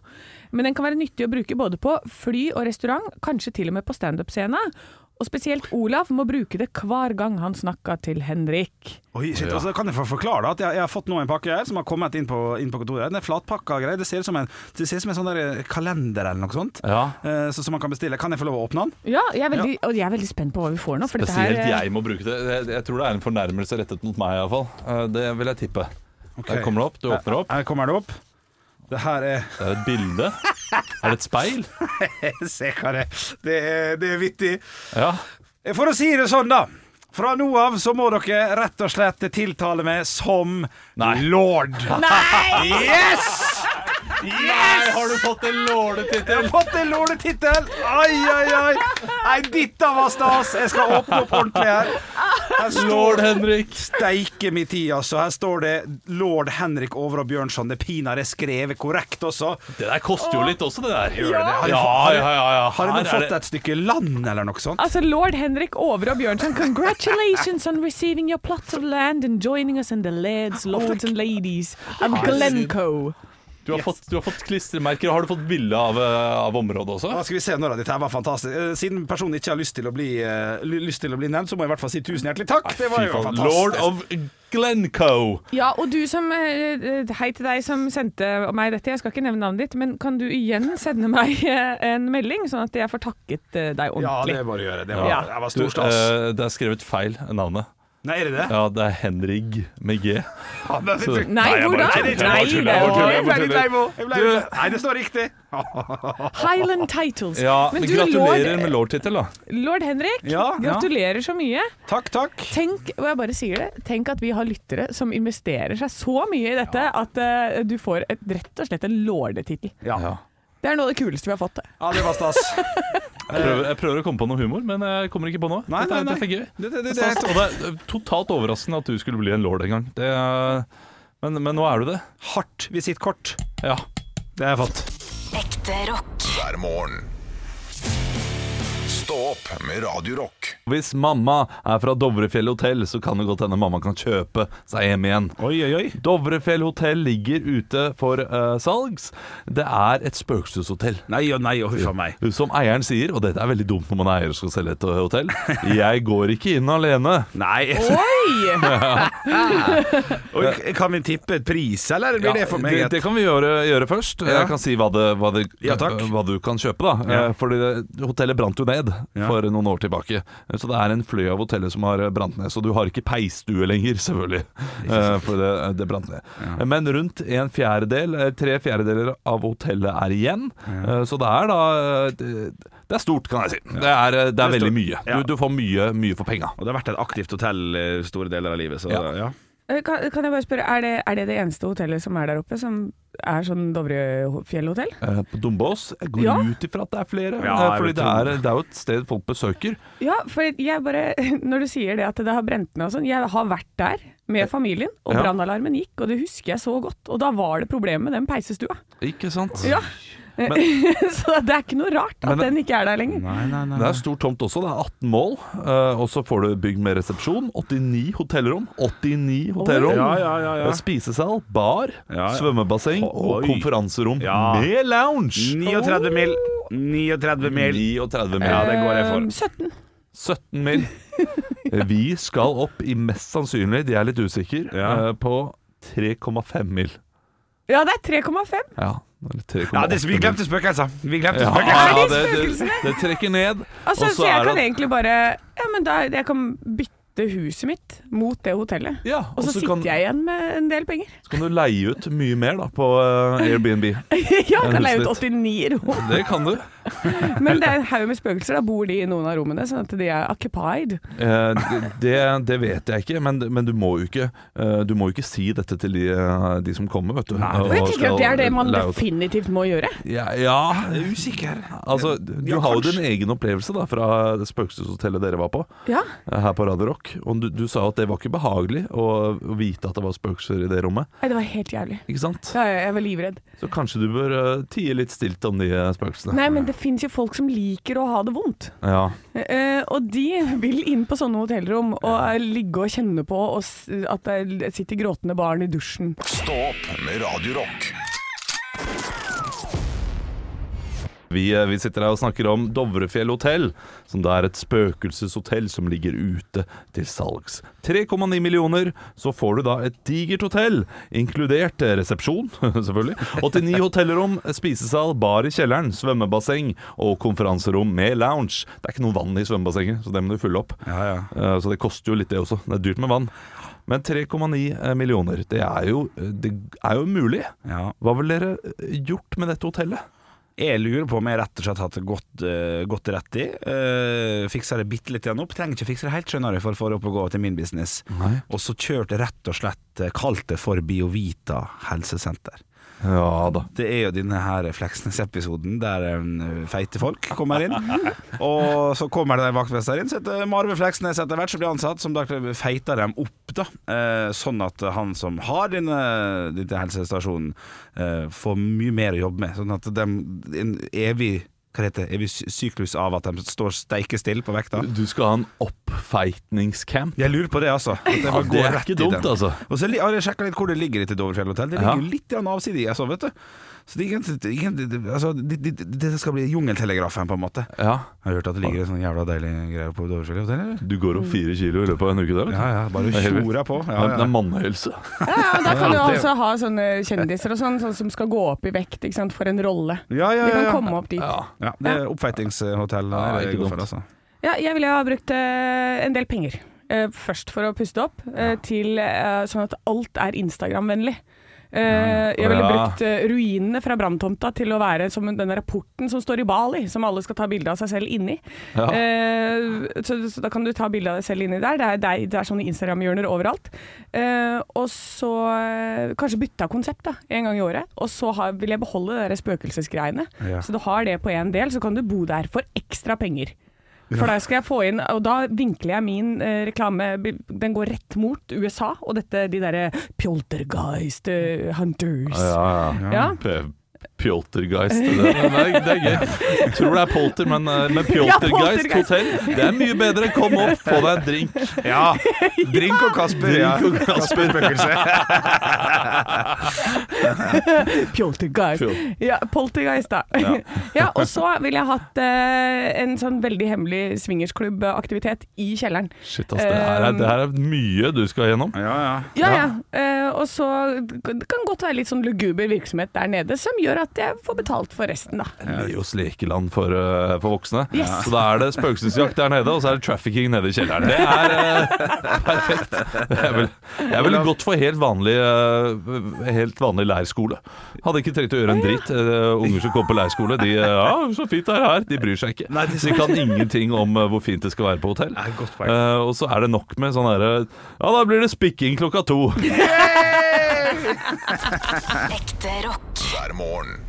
C: Men den kan være nyttig å bruke både på fly og restaurant, kanskje til og med på standup-scena. Og spesielt Olav må bruke det hver gang han snakker til Henrik.
E: Oi, shit,
D: Ja.
E: altså, Kan jeg få forklare da, at jeg, jeg har fått nå en pakke her som har kommet inn på, inn på kontoret. Den er flatpakka og greier. Det ser ut som en, det ser ut som en sånn der eh, kalender eller noe sånt.
D: Ja.
E: Eh, så, som man kan bestille. Kan jeg få lov å åpne den?
C: Ja, jeg er veldig, og jeg er veldig spent på hva vi får nå. For dette her,
D: Spesielt jeg må bruke det. Jeg, jeg tror det er en fornærmelse rettet mot meg, iallfall. Eh, Det vil jeg tippe. Der kommer det opp. Du åpner opp.
E: Her kommer det opp. Det her er
D: Det er et bilde. Er det et speil?
E: Se hva det er. Det er, det er vittig.
D: Ja.
E: For å si det sånn, da. Fra nå av så må dere rett og slett tiltale meg som
D: Nei.
E: lord.
C: Nei!
E: Yes!
D: Nei, har du fått en låletittel?
E: Jeg har fått en lånetittel! Ai, ai, ai. Nei, dette var stas. Jeg skal åpne opp ordentlig her. Her står
D: Lord Henrik.
E: Steike mi tid, altså. Her står det lord Henrik Over og Bjørnson. Det pinadø er skrevet korrekt også.
D: Det der koster jo litt også, det der.
E: Gjør det det? Har jeg
D: Ja,
E: fått- har jeg-
D: ja, ja, ja.
E: Har jeg
D: Her
E: nå
D: er
E: fått
D: det-
E: et stykke land, eller noe sånt?
C: Altså, lord Henrik Over og Bjørnson, congratulations on receiving your plot of land and joining us in the lads, lords and ladies of Glencoe.
D: Du har, fått, du har fått klistremerker. Har du fått bilde av, eh, av området også?
E: Da skal vi se når Dette her var fantastisk. Eh, Siden personen ikke har lyst til å bli, eh, ly- lyst til å bli nevnt, så må jeg i hvert fall si tusen hjertelig takk. Det var
D: Fy
E: jo
D: faen.
E: fantastisk.
D: Lord of Glencoe.
C: Ja, og du som eh, Hei til deg som sendte meg dette. Jeg skal ikke nevne navnet ditt, men kan du igjen sende meg eh, en melding, sånn at jeg får takket eh, deg
E: Ja, det
C: ordentlig?
E: er bare å gjøre. Det var,
C: Ja.
E: det
D: Du,
E: var stor stas.
D: eh, det er skrevet feil navnet.
E: Nei, er det det?
D: Ja, det er Henrig med G.
E: Ja, men-
D: Så-
E: Nei,
C: Nei,
D: jeg
C: hvor
D: bare
C: da?
D: tuller, jeg bare
C: Nei, det
D: tuller, jeg bare
C: var-
D: tuller, jeg
E: jeg
D: bare
E: ble litt
D: tuller.
E: lei meg. Jeg ble
D: Du-
E: litt- Nei, det står riktig!
C: Highland Titles.
D: Ja, men,
C: du,
D: gratulerer
C: lord,
D: med lordtittel, da.
C: lord Henrik,
E: Ja, ja.
C: gratulerer så mye.
E: Takk, takk.
C: Tenk, og jeg bare sier det, tenk at vi har lyttere som investerer seg så mye i dette at eh, du får et, rett og slett en lordetittel.
E: Ja,
C: Det er noe av det kuleste vi har fått.
E: ja det var stas.
D: Jeg prøver, jeg prøver å komme på noe humor, men jeg kommer ikke på noe.
E: Eh. Nei,
D: Dette-
E: nei, nei.
D: Dette er gøy.
E: Det, det, det,
D: Det er stas, og det er totalt overraskende at du skulle bli en lord en gang. Det er, men, men nå er du det.
E: hardt visittkort.
D: Ja.
E: Det har jeg fått.
F: Ekte rock.
B: hver morgen. Stå opp med Radio Rock.
D: Hvis mamma er fra Dovrefjell hotell, så kan det godt hende mamma kan kjøpe seg hjem igjen.
E: Oi, oi, oi.
D: Dovrefjell hotell ligger ute for eh, salgs. Det er et spøkelseshotell.
E: Nei og nei og huff a meg.
D: Som eieren sier, og dette er veldig dumt når man er eier og skal selge et eh, hotell Jeg går ikke inn alene.
E: Nei.
C: Oi!
E: Oi, kan vi tippe pris, eller blir det for meg?
D: det,
E: et-
D: det kan vi gjøre, gjøre først.
E: Ja.
D: Jeg kan si hva, det, hva, det,
E: Ja, takk.
D: hva du kan kjøpe, da.
E: Ja.
D: Eh, Fordi det, hotellet brant jo ned
E: Ja.
D: for noen år tilbake. Eh, Så det er en fløy av hotellet som har eh, brant ned. Så du har ikke peisstue lenger, selvfølgelig. Eh, For det, det brant ned. Eh, Men rundt en fjerdedel, eh, tre fjerdedeler av hotellet er igjen. Eh, Så det er da eh, Det, det er stort, kan jeg si. Det er, eh, det er
E: Det er
D: veldig
E: stort.
D: mye.
E: Ja.
D: Du, du får mye, mye for penga.
E: Og det har vært et aktivt hotell eh, store deler av livet, så
D: Ja.
E: ja.
C: Eh, Kan, kan jeg bare spørre, er det, er det det eneste hotellet som er der oppe, som er sånn Dovrefjellhotell?
D: Eh, På Dombås jeg går
C: Ja.
D: ut ifra at det er flere.
E: Ja,
D: eh,
E: jeg
D: fordi
E: vil
D: det
E: tro
D: er, det er jo et sted folk besøker.
C: Ja, for jeg bare, når du sier det at det har brent ned og sånn, jeg har vært der med familien, og
D: Ja.
C: brannalarmen gikk, og det husker jeg så godt, og da var det problemet med den peisestua.
D: Ikke sant?
C: Ja. så det er ikke noe rart at
D: Men-
C: den ikke er der lenger.
E: Nei, nei, nei.
D: Det er stor tomt også. Det er 18 mål. eh, og så får du bygg med resepsjon. 89 hotellrom. 89 hotellrom.
E: Ja, ja, ja, ja.
D: Spisesal, bar,
E: Ja, ja.
D: svømmebasseng og
E: Oi.
D: konferanserom
E: Ja.
D: med lounge.
E: 39 mil. 39 mil.
D: 39 mil.
E: Ja, det går jeg
C: Eh,
E: for.
C: 17.
D: 17 mil. Vi skal opp i mest sannsynlig, de er litt usikre,
E: Ja.
D: eh, på 3,5 mil.
C: Ja, det er 3,5.
D: Ja, eller 3,8
E: Ja, det, vi
D: mil.
E: glemte spøkelser. Vi glemte
D: ja,
E: spøkelser.
D: ja,
C: Er det
D: det, det,
C: spøkelsene?
D: det trekker ned.
C: Altså,
D: Og
C: så jeg
D: er
C: kan
D: det-
C: egentlig bare Ja, men da jeg kan bytte huset mitt mot det hotellet.
D: ja,
C: Og så sitter
D: kan,
C: jeg igjen med en del penger.
D: så kan du leie ut mye mer da, på eh, Airbnb.
C: ja, jeg kan leie ut
D: huset
C: 89 rom.
D: Det kan du.
C: Men det er en haug med spøkelser. Da bor de i noen av rommene, sånn at de er occupied.
D: Eh, det, det vet jeg ikke, men, men du, må jo ikke eh, du må jo ikke si dette til de, eh, de som kommer, vet du.
C: Og jeg tenker at det er det man
D: leie ut.
C: definitivt må gjøre.
D: ja, ja,
E: Jeg er Usikker.
D: altså du
E: Ja,
D: har jo
E: kanskje.
D: din egen opplevelse da fra det spøkelseshotellet dere var på,
C: Ja.
D: eh, her på Radio Rock. Og du, du sa at det var ikke behagelig å å vite at det var spøkelser i det rommet,
C: Nei, det var helt jævlig.
D: ikke sant?
C: Ja, ja, jeg var livredd.
D: Så kanskje du bør eh, tie litt stilt om de eh, spøkelsene.
C: Nei, men det fins jo folk som liker å ha det vondt.
D: Ja.
C: Eh, og de vil inn på sånne hotellrom og eh, ligge og kjenne på og s at det sitter gråtende barn i dusjen.
B: Stå opp med Radio Rock.
D: Vi, eh, vi sitter her og snakker om Dovrefjell hotell, som da er et spøkelseshotell som ligger ute til salgs. 3,9 millioner, så får du da et digert hotell, inkludert eh, resepsjon, selvfølgelig. 89 hotellrom, spisesal, bar i kjelleren, svømmebasseng og konferanserom med lounge. Det er ikke noe vann i svømmebassenget, så det må du fylle opp.
E: Ja, ja.
D: Eh, Så det koster jo litt det også. Det er dyrt med vann. Men 3,9 eh, millioner, det er jo, eh, det er jo mulig.
E: ja.
D: Hva ville dere eh, gjort med dette hotellet?
E: Jeg lurer på om jeg rett og slett har hatt det godt, eh, godt rett i. Uh, fiksa det bitte litt igjen opp. Trenger ikke fikse det helt, skjønner jeg, for å få det opp og gå til min business.
D: Nei.
E: Og så kjørte jeg rett og slett eh, Kalt det for Biovita helsesenter.
D: Ja da.
E: Det er jo denne her Fleksnes-episoden der eh, feite folk kommer inn. og så kommer det en vaktmester inn. Så etter Marve Fleksnes etter hvert så blir ansatt, som da feiter dem opp, da. Eh, sånn at han som har denne, denne helsestasjonen, eh, får mye mer å jobbe med. Sånn at de, en evig hva heter det, evig sy- syklus av at de står steikestille på vekta.
D: Du skal ha en oppfeitningscamp.
E: Jeg lurer på det, altså. At jeg
D: Ja,
E: bare
D: det
E: går
D: er
E: rett
D: ikke
E: i
D: dumt,
E: den.
D: altså.
E: Og så li- har jeg sjekka litt hvor det ligger til Dovrefjell hotell. Det
D: Ja.
E: ligger jo litt grann avsidig, jeg så, vet du. Så det, er ikke- det, er ikke- det, det- altså, det, det, det skal bli jungeltelegrafen, på en måte.
D: Ja.
E: Har du hørt at det ligger en sånn jævla deilig greie på Dovrefjell hotell, eller?
D: Du går opp fire kilo i løpet av en uke, der.
E: Ja ja, bare
D: er helt vilt.
E: tjora på. Ja,
D: Det er-
E: ja.
D: det er mannehelse.
C: Ja, ja, og Da kan du altså ha sånne kjendiser og sånn, sånn som skal gå opp i vekt ikke sant, for en rolle.
E: Ja, ja,
C: De
E: ja,
C: kan
E: ja.
C: komme opp dit.
D: Ja.
E: ja, det er oppfeitingshotell.
D: Ja,
E: det er
D: ikke
E: jeg går for,
D: dumt.
E: altså.
C: Ja, jeg ville ha brukt eh, en del penger. eh, først for å puste opp, eh, til eh, sånn at alt er Instagram-vennlig. Eh, jeg ville
D: Ja.
C: brukt eh, ruinene fra branntomta til å være som den der porten som står i Bali, som alle skal ta bilde av seg selv inni. Eh, så, så da kan du ta bilde av deg selv inni der. Det er, det er, det er sånne Instagram-hjørner overalt. Eh, og så eh, kanskje bytte av konsept da, en gang i året. Og så har, vil jeg beholde de der spøkelsesgreiene.
E: Ja.
C: Så du har det på én del, så kan du bo der for ekstra penger. For da skal jeg få inn, og da vinkler jeg min eh, reklame Den går rett mot USA og dette, de derre Pjoltergeist eh, Hunters.
D: Ja, ja.
C: Ja.
D: P- Pjoltergeist. Det, det, er, det er gøy. Jeg tror det er polter, men, eh, men Pjoltergeist
C: poltergeist.
D: hotell, det er mye bedre. Kom opp, få deg en drink.
E: Ja! Drink og Kasper. ja.
D: Drink og Kasper.
E: Spøkelse.
C: Pjoltergeist.
D: Pjol-
C: Ja, poltergeist, da. Ja. og så ville jeg hatt eh, en sånn veldig hemmelig swingersklubbaktivitet i kjelleren.
D: Shit, ass, det her, er, det her er mye du skal gjennom.
E: Ja, ja.
C: Ja, ja. Eh, og så det kan godt være litt sånn luguber virksomhet der nede, som gjør at jeg får betalt for resten, da.
D: Leos lekeland for, eh, for voksne.
C: Yes.
D: Så da er det spøkelsesjakt der nede, og så er det trafficking nede i kjelleren. Det er eh, perfekt. Det er vel, jeg ville gått for helt vanlig, eh, helt vanlig leirskole. Hadde ikke trengt å gjøre en dritt. Eh, unger som kommer på leirskole, de eh, Ja, så fint det er her. De bryr seg ikke.
E: Nei, de-
D: de kan ingenting om eh, hvor fint det skal være på hotell.
E: Det er et godt poeng.
D: Eh, og så er det nok med sånn herre Ja, da blir det spikking klokka to.
F: Ekte rock.
B: hver morgen.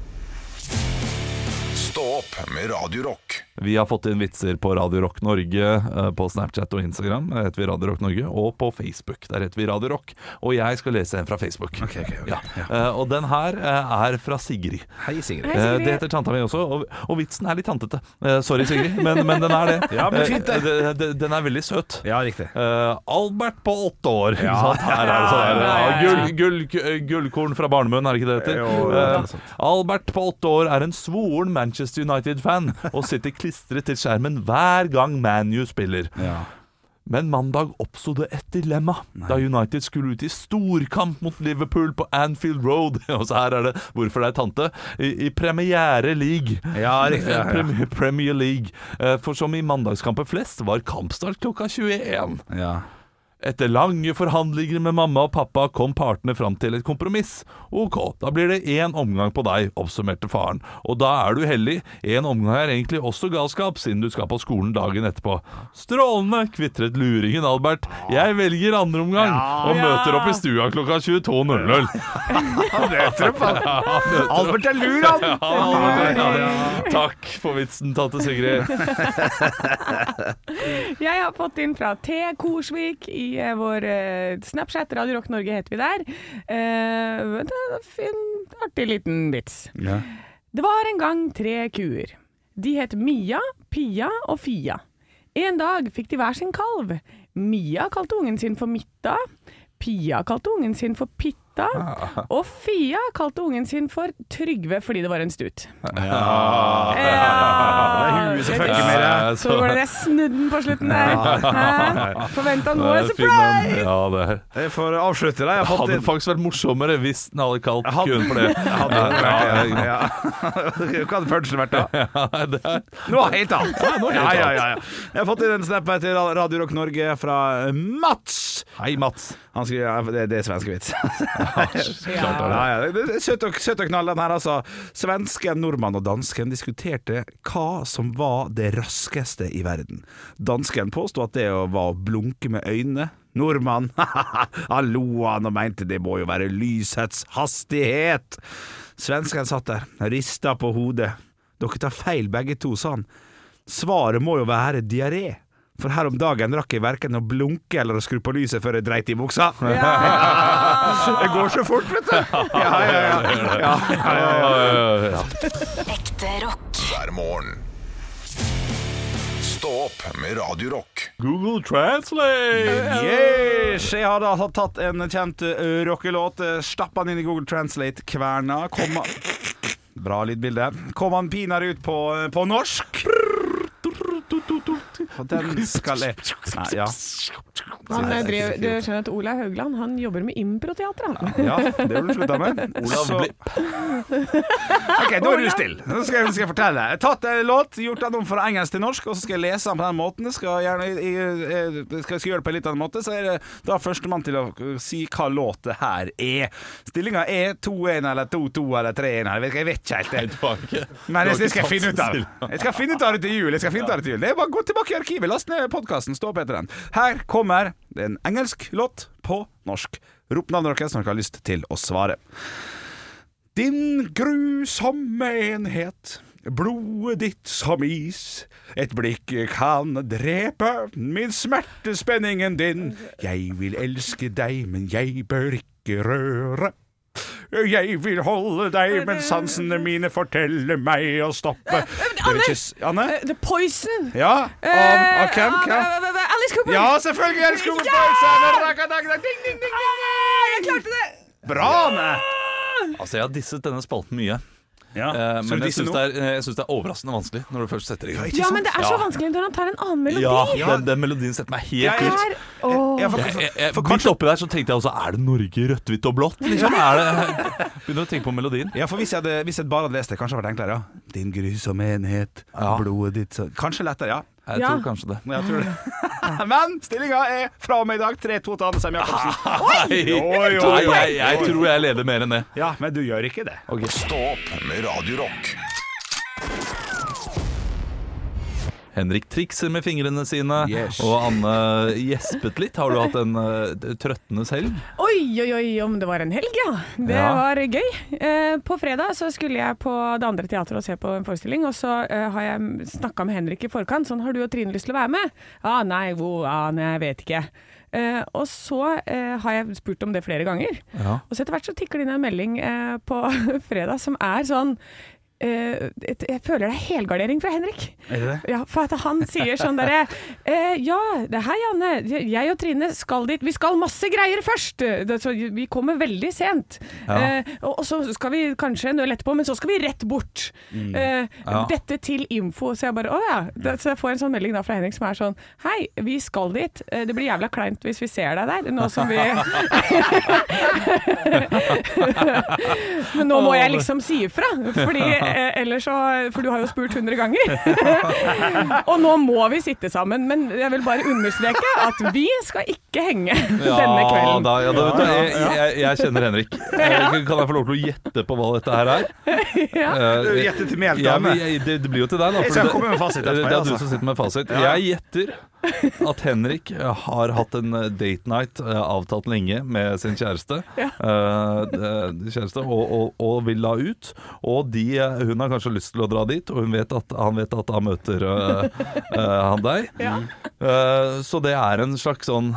B: Stå opp med Radio Rock.
D: Vi har fått inn vitser på Radio Rock Norge eh, på Snapchat og Instagram. Der heter vi Radio Rock Norge. Og på Facebook. Der heter vi Radio Rock. Og jeg skal lese en fra Facebook.
E: Ok, ok, ok.
D: Ja. Eh, og den her eh, er fra Sigrid.
E: Hei, Sigrid.
C: Hei,
D: Eh,
C: Sigrid.
D: det heter tanta mi også, og, og vitsen er litt tantete. Eh, sorry, Sigrid, men, men den er det.
E: Ja, men fint det.
D: Eh, det- det- Den er veldig søt.
E: Ja, riktig.
D: Eh, Albert på åtte år.
E: Ja.
D: Sånn, her er det sånn
C: Ja, ja, ja.
D: ja, gull, gull, Gullkorn fra barnemunn, er det ikke det det heter?
E: Jo, det er
D: Eh, Albert på åtte år er en svoren Manchester United-fan og sitter klistret til skjermen hver gang ManU spiller.
E: Ja.
D: Men mandag oppsto det et dilemma da United skulle ut i storkamp mot Liverpool på Anfield Road. Og så her er det 'Hvorfor det er tante?' i, i Premiere League.
E: ja, riktig. Ja, ja.
D: Premier, Premier League. Eh, For som i mandagskamper flest var kampstart klokka 21.
E: ja.
D: Etter lange forhandlinger med mamma og pappa kom partene fram til et kompromiss. Ok, da blir det én omgang på deg, oppsummerte faren. Og da er du heldig. Én omgang er egentlig også galskap, siden du skal på skolen dagen etterpå. Strålende, kvitret luringen Albert. Jeg velger andre omgang, og møter opp i stua klokka 22.00.
E: Albert er lur, han!
D: Ja, Albert, ja. Takk for vitsen, tante Sigrid.
C: Jeg har fått inn fra T. Korsvik i eh, vår eh, Snapchat, Radio Rock Norge heter vi der. Eh, det er en fin, artig liten vits.
E: Ja.
C: Det var en gang tre kuer. De het Mia, Pia og Fia. En dag fikk de hver sin kalv. Mia kalte ungen sin for Mitta. Pia kalte ungen sin for Pitta.
E: Ah.
C: Og Fia kalte ungen sin for Trygve fordi det var en stut. Ja.
E: Ah. Det er huet som følger med det.
D: Eh,
C: Så var det jeg snudde den på slutten der. Forventa noe
D: Eh, fin
C: surprise!
D: en. Ja, det er
E: Jeg får avslutte deg.
D: Det
E: Jeg har fått
D: hadde
E: inn
D: faktisk vært morsommere hvis den hadde kalt
E: hadde-
D: køen for det.
E: Hadde det
D: Ja,
E: vært det,
D: ja,
E: ja. Hva hadde punchen vært da?
D: ja, det er-
E: Noe helt annet.
D: helt
E: Ja, ja,
D: annet.
E: ja, ja. Jeg har fått inn en snap her til Radio Rock Norge fra Mats.
D: Hei, Mats.
E: Han skriver, ja, det, det er svenskevits.
D: Klart det er det.
E: Ja, ja, det er søt og, søt og knall, den her, altså. Svensken, nordmann og dansken diskuterte hva som var det raskeste i verden. Dansken påsto at det å- var å blunke med øynene. Nordmann, han lo han og mente det må jo være lysets hastighet. Svensken satt der, rista på hodet. Dere tar feil begge to, sa han. Svaret må jo være diaré. For her om dagen rakk jeg verken å blunke eller å skru på lyset før jeg dreit i buksa. Det går så fort, vet du. Ja, ja, ja. ja, ja, ja, ja.
D: Ja, ja.
F: Ekte rock.
B: hver morgen. Stå opp med Radio Rock.
D: Google Translate!
E: Yes! Jeg har da tatt en kjent eh, rockelåt, eh, stappa den inn i Google Translate-kverna, kom Bra lydbilde. Kom han pinadø ut på, eh, på norsk? Og den skal jeg Nei, ja.
C: Han eh,
E: Nei, det er
C: driver,
E: ikke
C: du
E: så kult.
C: skjønner at Olaug Haugland han jobber med improteater, han.
E: Ja, det vil du slutte med.
D: Olav
E: Så-
D: Blipp.
E: Ok, nå er du stille. Nå skal jeg, skal jeg fortelle. Jeg har tatt en låt, gjort den om fra engelsk til norsk, og så skal jeg lese den på den måten. Jeg Skal gjerne, jeg, jeg, jeg skal, skal gjøre det på en litt annen måte, så er det da førstemann til å si hva låt det her er. Stillinga er 2-1 eller 2-2 eller 3-1, eller jeg vet- jeg vet ikke helt det.
D: Nei, du har ikke
E: Men
D: du
E: det,
D: har
E: det
D: ikke
E: skal jeg
D: tatt
E: finne ut av.
D: Cecilia.
E: Jeg skal finne ut av det til jul. Jeg skal finne ut av det til jul Det er bare å Gå tilbake i arkivet, last ned podkasten, stå opp etter den. Her kommer det en engelsk låt på norsk. Rop navnet deres når dere har lyst til å svare. Din grusomme enhet, blodet ditt som is. Et blikk kan drepe min smertespenningen din. Jeg vil elske deg, men jeg bør ikke røre. Jeg vil holde deg, men sansene mine forteller meg å stoppe. Dere kyss- Anne?
C: Eh, The Poison!
E: Ja? Av, av hvem?
C: Eh,
E: Hvem?
C: av- av- av Alice Cooper!
E: Ja, selvfølgelig! Elsker
C: Ja! Ah,
E: Cooper!
C: Jeg klarte det!
E: Bra, Anne!
D: Altså, jeg har disset denne spalten mye.
E: Ja,
D: Eh,
E: så
D: men
E: du
D: jeg
E: disse
D: syns
E: nå?
D: det, er- eh, jeg synes det er overraskende vanskelig når du først setter i gang.
C: Ja, men det er så
D: Ja.
C: vanskelig når han tar en annen melodi.
D: Ja, den, den melodien setter meg helt
E: Det er-
D: ut.
C: Her, åh.
E: Ja, for-
D: Jeg, jeg, jeg,
E: for- for-
D: midt oppi der så tenkte jeg også Er det Norge rødt, hvitt og blått? Liksom? Er det, begynner å tenke på melodien.
E: Ja, for hvis jeg, hadde, hvis jeg bare hadde lest det, kanskje det hadde vært enklere. Ja. Din grusomme enhet,
D: Ja.
E: blodet ditt så. Kanskje lettere, ja.
D: Jeg
C: Ja.
D: tror kanskje det.
E: Men jeg tror det. Men stillinga er fra og med i dag 3-2 til Anne Sem Jacobsen.
D: Nei,
E: Oi, oi, oi.
D: jeg, jeg tror jeg leder mer enn det.
E: Ja, men du gjør ikke det.
B: Stå opp med Radio Rock.
D: Henrik trikser med fingrene sine,
E: Yes.
D: og Anne gjespet litt. Har du hatt en eh, trøttende selv?
C: Oi, oi, oi, om det var en helg, ja. Det
D: Ja.
C: var gøy. Eh, på fredag så skulle jeg på det andre teatret og se på en forestilling, og så eh, har jeg snakka med Henrik i forkant. Sånn, har du og Trine lyst til å være med? Ja, ah, nei, hvor, ah, nei, jeg vet ikke. Eh, og så eh, har jeg spurt om det flere ganger.
D: Ja.
C: Og så etter hvert så tikker det inn en melding eh, på fredag som er sånn eh, et, Jeg føler det er helgardering fra Henrik.
E: Er det det?
C: Ja, for at han sier sånn derre eh, Ja, det er hei Janne. Jeg og Trine skal dit. Vi skal masse greier først! Det, så vi kommer veldig sent.
D: Ja.
C: Eh, og, og så skal vi kanskje en øl etterpå, men så skal vi rett bort.
E: Mm.
C: Eh,
D: Ja.
C: Dette til info. Så jeg bare å ja. Det, så jeg får en sånn melding da fra Henrik som er sånn Hei, vi skal dit. Eh, Det blir jævla kleint hvis vi ser deg der, nå som vi Men nå må jeg liksom si ifra, fordi, eh, ellers så, for du har jo spurt 100 ganger. Og nå må vi sitte sammen, men jeg vil bare understreke at vi skal ikke henge denne kvelden.
D: da, ja, da, vet du, jeg, jeg, jeg kjenner Henrik. Eh, Kan jeg få lov til å gjette på hva dette her er? Eh,
E: Gjette til meg,
D: Ja, men
E: Anne.
D: jeg, det, det blir jo til deg, da.
E: Jeg
D: for
E: skal
D: det-
E: komme med fasit etterpå,
D: Det
E: jeg,
D: er du
E: altså.
D: som sitter med fasit. Jeg gjetter at Henrik har hatt en eh, date night eh, avtalt lenge med sin kjæreste.
C: Ja.
D: Eh, eh, kjæreste og, og, og vil la ut. Og de, eh, hun har kanskje lyst til å dra dit, og hun vet at, han vet at han møter eh, eh, han deg. Eh, så det er en slags sånn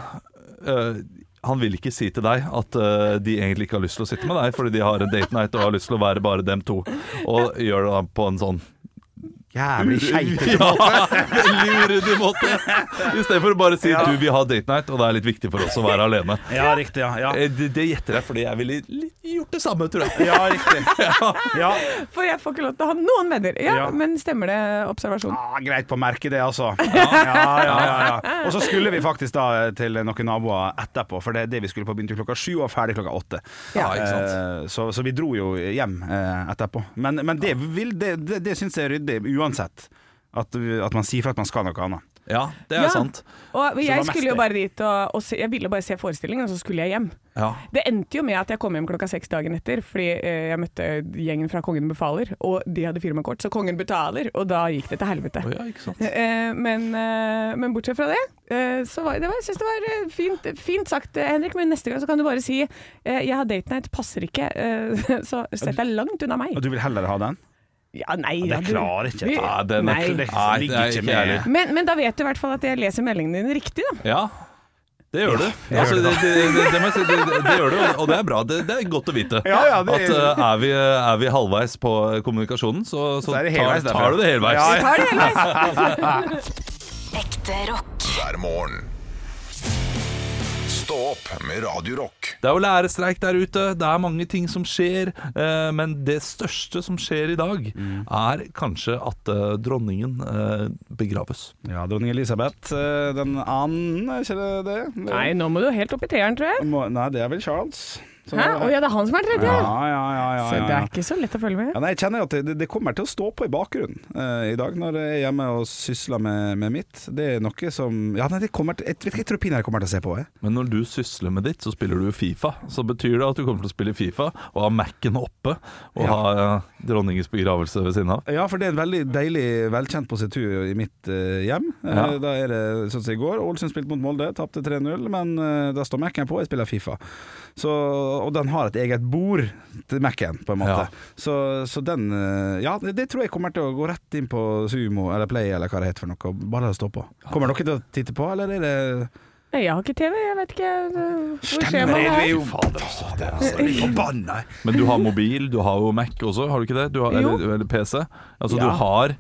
D: eh, han vil ikke si til deg at eh, de egentlig ikke har lyst til å sitte med deg, fordi de har en date night og har lyst til å være bare dem to. Og gjør det da på en sånn
E: Jævlig skeitete.
D: ja, veldig uryddig måte. I stedet for å bare si
E: Ja.
D: du, vi har date night, og det er litt viktig for oss å være alene.
E: Ja, riktig. Ja, ja.
D: Eh, Det, det gjetter jeg, fordi jeg ville litt gjort det samme, tror jeg.
E: ja riktig. Ja.
C: For jeg får ikke lov til å ha noen venner. Ja,
E: Ja.
C: Men stemmer det observasjon?
E: Ah, greit på å merke det, altså. Ja, ja, ja, ja. Og så skulle vi faktisk da til noen naboer etterpå, for det er det vi skulle på. Begynte klokka sju og var ferdig klokka åtte.
D: Ja, ikke sant.
E: Eh, Så, så vi dro jo hjem eh, etterpå. Men, men det, vil, det, det, det syns jeg er ryddig, uansett. At, at man sier fra at man skal noe annet.
D: Ja, det er
C: Ja.
D: sant.
C: Og
E: det var
C: jeg
E: mest
C: skulle jo
E: det.
C: bare dit og, og se, jeg ville bare se forestillingen, og så skulle jeg hjem.
D: Ja.
C: Det endte jo med at jeg kom hjem klokka seks dagen etter, fordi eh, jeg møtte gjengen fra Kongen befaler, og de hadde firmakort, så Kongen betaler, og da gikk det til helvete.
D: Å ja, ikke sant.
C: Eh, men, eh, men bortsett fra det, eh, så var det var, jeg synes det var eh, fint, fint sagt, eh, Henrik. Men neste gang så kan du bare si eh, 'jeg har date night, passer ikke', eh, så sett deg langt unna meg.
E: Og du vil heller ha den?
C: Ja, nei, ja,
E: Ja, det
C: du-
E: klarer ikke.
C: vi-
E: Ja,
D: den er
C: nei.
D: Nei, det
E: Det ligger
D: er
E: ikke
D: ikke
E: med
D: jeg heller.
C: Men, men da vet du i hvert fall at jeg leser meldingene dine riktig, da.
D: Ja, det gjør du.
E: det
D: Altså,
E: gjør
D: det, det, det, det, må jeg si, det, det, det gjør du, og- og det er bra. Det, det er godt å vite.
E: Ja, ja, det-
D: At eh, er, vi, er vi halvveis på kommunikasjonen, så, så,
E: Så er det
D: tar,
E: helveis derfra.
D: tar du det helveis.
E: Ja, ja.
C: Tar det hele veien.
F: Ekte rock.
B: hver morgen. Stå opp med Radio Rock.
D: Det er jo lærerstreik der ute, det er mange ting som skjer. eh, Men det største som skjer i dag,
E: Mm.
D: er kanskje at eh, dronningen eh, begraves.
E: Ja, dronning Elisabeth eh, den annen, er ikke det det?
C: Nei, nå må du helt opp i treeren, tror jeg.
E: Må- Nei, det er vel Charles. Så-
C: Hæ? Å ja, det er han som er tredje?
E: ja, ja, ja, ja,
C: Så
E: ja,
C: det
E: ja.
C: er ikke så lett å følge med.
E: Ja, nei, jeg kjenner at det, det kommer til å stå på i bakgrunnen eh, i dag, når jeg er hjemme og sysler med, med mitt. Det er noe som Ja, nei, det kommer til, jeg, vet ikke, jeg tror pinadø kommer til å se på. Jeg.
D: Men når du sysler med ditt, så spiller du Fifa. Så betyr det at du kommer til å spille Fifa og ha Mac-en oppe og
E: Ja.
D: ha eh, dronningens begravelse ved siden av.
E: Ja, for det er en veldig deilig, velkjent positur i mitt eh, hjem. Eh,
D: Ja.
E: Da er det sånn som i går. Ålesund spilte mot Molde, tapte 3-0, men eh, da står Mac-en på, jeg spiller Fifa. Så, og den har et eget bord til Mac-en, på en måte.
D: Ja.
E: Så, så den eh, Ja, det det tror jeg kommer til å gå rett inn på Sumo eller Play eller hva det heter for noe, og bare stå på. Kommer dere til å titte på, eller er det
C: Nei, jeg har ikke TV, jeg vet ikke øh, hvor
E: Stemmer
C: skjemaet
E: det,
C: er.
E: jo fader, altså, det er så forbanna.
D: Men du har mobil, du har jo Mac også, har du ikke det? Du har,
C: Jo.
D: eller, eller PC. Altså
E: Ja.
D: du har